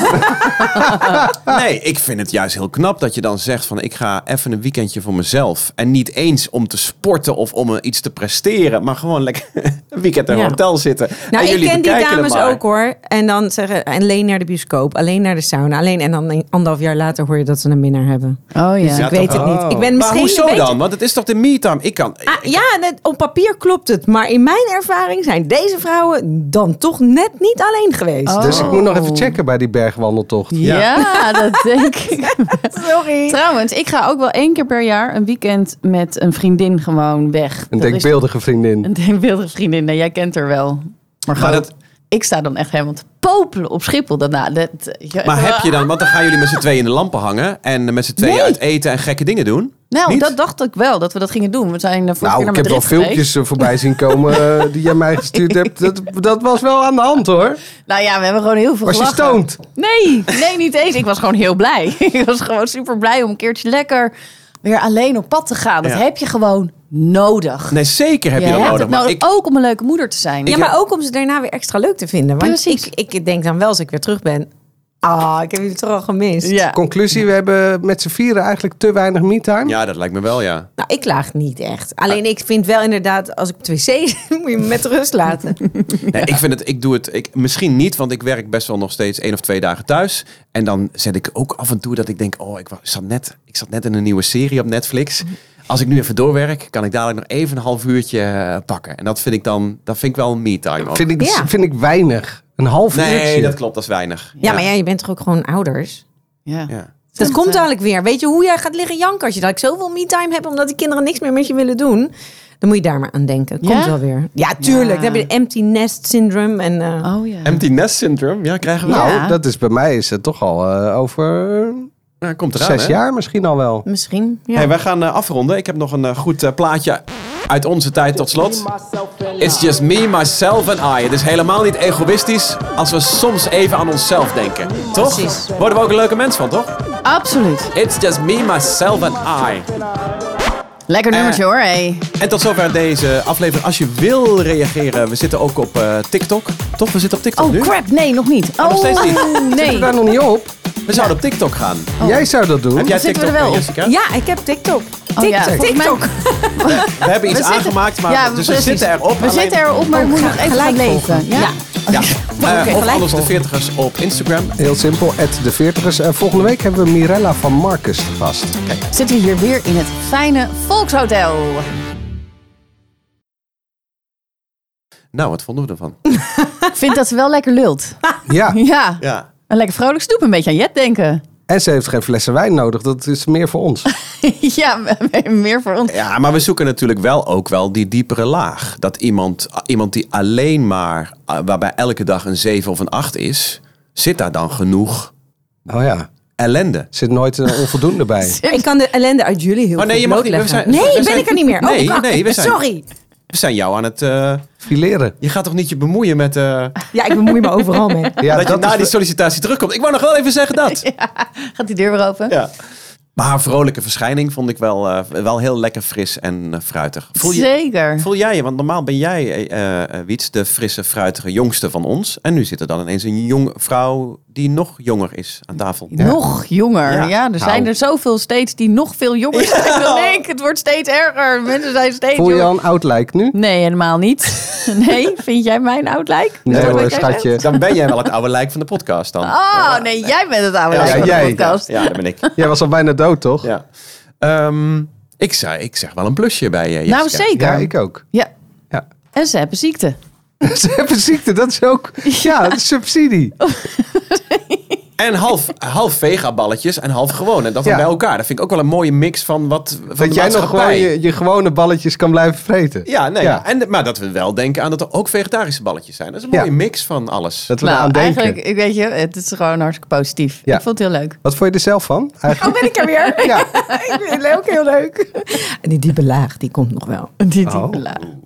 B: nee, ik vind het juist heel knap dat je dan zegt van... ik ga even een weekendje voor mezelf. En niet eens om te sporten of om eh, iets te presteren. Maar gewoon lekker een weekend in een
E: Ja.
B: hotel zitten.
E: Nou,
B: en
E: ik
B: jullie
E: ken die
B: bekijken het
E: dames
B: maar.
E: ook hoor. En dan zeggen, alleen naar de bioscoop, alleen naar de sauna, alleen. En dan een- anderhalf jaar later hoor je dat ze een minnaar hebben.
A: Oh ja.
E: Dus ik weet het
C: toch?
E: niet. Ik ben
B: Maar
E: misschien
B: hoezo
E: een beetje-
B: dan? Want het is toch de me-time? Ik kan...
E: Ah, ja, net, op papier klopt het. Maar in mijn ervaring zijn deze vrouwen dan toch net niet alleen geweest.
A: Oh.
C: Dus ik moet nog even checken bij die bergwandeltocht.
A: Ja, dat denk ik.
E: Sorry.
A: Trouwens, ik ga ook wel één keer per jaar een weekend met een vriendin gewoon weg.
C: Een
A: Dat is-
C: denkbeeldige vriendin.
A: Een denkbeeldige vriendin. Nee, jij kent haar wel. Maar,
B: Maar
A: gewoon,
B: dat-
A: ik sta dan echt helemaal te popelen op Schiphol daarna. Dat, ja,
B: maar heb je dan... Want dan gaan jullie met z'n tweeën in de lampen hangen. En met z'n tweeën uit eten en gekke dingen doen.
A: Nou,
B: Niet?
A: dat dacht ik wel, dat we dat gingen doen. We zijn de vorige
C: Nou,
A: keer
C: ik
A: naar
C: heb wel
A: Madrid geweest.
C: filmpjes eh, voorbij zien komen eh, die jij mij gestuurd hebt. Dat, dat was wel aan de hand hoor.
A: Nou ja, we hebben gewoon heel veel
C: Was je
A: gelachen.
C: stoned?
A: Nee, nee, niet eens. Ik was gewoon heel blij. ik was gewoon super blij om een keertje lekker weer alleen op pad te gaan. Dat
B: Ja.
A: heb je gewoon nodig.
B: Nee, zeker heb je
A: hebt
B: dat nodig.
A: het
B: Maar ik,
A: Ook om een leuke moeder te zijn.
E: Ja, maar ook om ze daarna weer extra leuk te vinden. Want
A: Precies.
E: ik, ik denk dan wel als ik weer terug ben. Ah, ik heb jullie toch al gemist.
A: Ja.
C: Conclusie, we hebben met z'n vieren eigenlijk te weinig me-time.
B: ja, dat lijkt me wel, ja.
E: Nou, ik klaag niet echt. Alleen ik vind wel inderdaad, als ik op de wc zit, moet je me met rust laten.
B: Nee, ik vind het, ik doe het ik, misschien niet, want ik werk best wel nog steeds één of twee dagen thuis. En dan zet ik ook af en toe dat ik denk, oh, ik, was, ik zat, net, ik zat net in een nieuwe serie op Netflix. Als ik nu even doorwerk, kan ik dadelijk nog even een half uurtje eh, pakken. En dat vind ik dan, dat vind ik wel een me-time. ook.
C: Vind, ik,
E: Ja.
C: vind ik weinig. Een Een half uur.
B: Nee, dat klopt. Dat is weinig.
E: Ja, maar ja, je bent toch ook gewoon ouders?
A: Ja.
B: Ja.
E: Dat
A: Ja.
E: komt dadelijk weer. Weet je hoe jij gaat liggen janken als je dat ik zoveel me-time heb omdat die kinderen niks meer met je willen doen? Dan moet je daar maar aan denken. Komt
A: Ja?
E: wel weer. Ja, tuurlijk.
A: Ja.
E: Dan heb je empty nest syndrome en eh,
A: Oh ja.
B: Empty nest syndrome. Ja, krijgen we.
A: Ja.
B: Nou,
C: Nou, dat is bij mij is het toch al eh, over
B: nou, komt eraan.
C: zes
B: hè?
C: jaar misschien al wel.
E: misschien. Ja.
B: Hey, wij gaan eh, afronden. Ik heb nog een eh, goed eh, plaatje uit onze tijd tot slot. It's just me, myself and I. Het is helemaal niet egoïstisch als we soms even aan onszelf denken. Toch?
E: Precies.
B: Worden we ook een leuke mens van, toch?
A: Absoluut.
B: It's just me, myself and I.
A: Lekker nummertje
B: Eh.
A: hoor. Hey.
B: En tot zover deze aflevering. Als je wil reageren, we zitten ook op eh, TikTok. Toch? We zitten op TikTok
A: Oh
B: nu.
A: crap, nee, nog niet. Oh,
B: nog steeds niet.
A: nee.
C: Daar nog niet op.
B: We zouden op TikTok gaan.
C: Jij zou dat doen.
B: Heb jij
A: zitten
B: TikTok,
A: we er wel
B: eh,
A: op?
B: Jessica?
E: Ja, ik heb TikTok. TikTok.
A: ja, volgens mij-
E: TikTok.
B: We hebben iets
A: We zitten-
B: aangemaakt, maar
A: Ja,
B: dus
A: precies.
B: we zitten erop.
A: We
B: Alleen-
A: zitten erop, maar we moeten nog even gaan
E: Gelijk
A: lezen.
E: volgen.
A: Ja.
E: Ja.
B: Ja. Eh,
E: Oké,
B: of
E: gelijk
B: anders de
E: volgen.
B: 40ers op Instagram.
C: Heel simpel, at de 40ers. En volgende week hebben we Mirella van Marcus te gast.
A: Zitten we hier weer in het fijne Volkshotel.
B: Nou, wat vonden we ervan?
A: Ik vind dat ze wel lekker lult.
C: Ja,
A: Ja.
B: Ja.
A: Een lekker vrolijk snoep, een beetje aan Jet denken.
C: en ze heeft geen flessen wijn nodig. Dat is meer voor ons.
A: ja, me- meer voor ons.
B: Ja, maar we zoeken natuurlijk wel ook wel die diepere laag. Dat iemand, ah, iemand die alleen maar, ah, waarbij elke dag een 7 of een 8 is, zit daar dan genoeg
C: Oh ja, er
B: ellende?
C: zit nooit een onvoldoende bij.
E: Ik kan de ellende uit jullie heel
B: Oh, nee,
E: goed
B: je mag niet. We
E: blootleggen.
B: zijn- we zijn-
E: nee, ben ik er niet meer.
B: Nee,
E: oh,
B: nee, we zijn-
E: Sorry.
B: We zijn jou aan het... eh,
C: Fileren.
B: je gaat toch niet je bemoeien met eh,
E: Ja, ik bemoei me overal mee.
C: Ja,
B: dat,
C: dat
B: je nou- na
C: is-
B: die sollicitatie terugkomt. Ik wou nog wel even zeggen dat.
A: Gaat die deur weer open?
B: Ja. Maar vrolijke verschijning vond ik wel, eh, wel heel lekker fris en eh, fruitig. Voel, je,
A: Zeker.
B: voel jij je? Want normaal ben jij, eh, eh, eh, Wiets, de frisse, fruitige jongste van ons. En nu zit er dan ineens een jong vrouw die nog jonger is aan tafel.
A: Nog jonger.
B: Ja.
A: Ja, er zijn er zoveel steeds die nog veel jonger zijn dan ik. Het wordt steeds erger. Mensen zijn steeds
C: Voel je
A: jonger.
C: al een oud lijk nu?
A: Nee, helemaal niet. Nee, vind jij mijn oud lijk?
C: Nee
A: Dat is wat
C: hoor,
A: jij zegt?
C: schatje.
B: Dan ben jij wel het oude lijk van de podcast dan.
A: Oh, nee, jij bent het oude
B: Ja,
A: lijk van
C: jij.
A: de podcast.
B: Ja, dat ben ik.
C: Jij was al bijna dood, toch?
B: Ja. Ehm, ik, zou, ik zeg wel een plusje bij eh, je.
A: nou, zeker.
C: Ja,
A: Ja,
C: ik ook. Ja.
A: En ze hebben ziekte.
C: Ze hebben ziekte, dat is ook... Ja, dat is subsidie.
B: En half, half vegaballetjes en half gewoon. En dat dan
C: Ja.
B: bij elkaar. Dat vind ik ook wel een mooie mix van wat van de
C: Dat jij nog gewoon
B: maatschappij.
C: je, je gewone balletjes kan blijven vreten.
B: Ja, nee.
C: Ja.
B: En, maar dat we wel denken aan dat er ook vegetarische balletjes zijn. Dat is een
C: Ja.
B: mooie mix van alles.
C: Dat we
A: Nou,
C: eraan denken.
A: eigenlijk, ik weet je, het is gewoon hartstikke positief.
C: Ja.
A: Ik vond het heel leuk.
C: Wat vond je er zelf van? Eigenlijk?
E: Oh, ben ik er weer.
C: Ja.
E: ik vind het ook heel leuk. En die diepe laag, die komt nog wel.
A: Die diepe
C: Oh.
A: laag.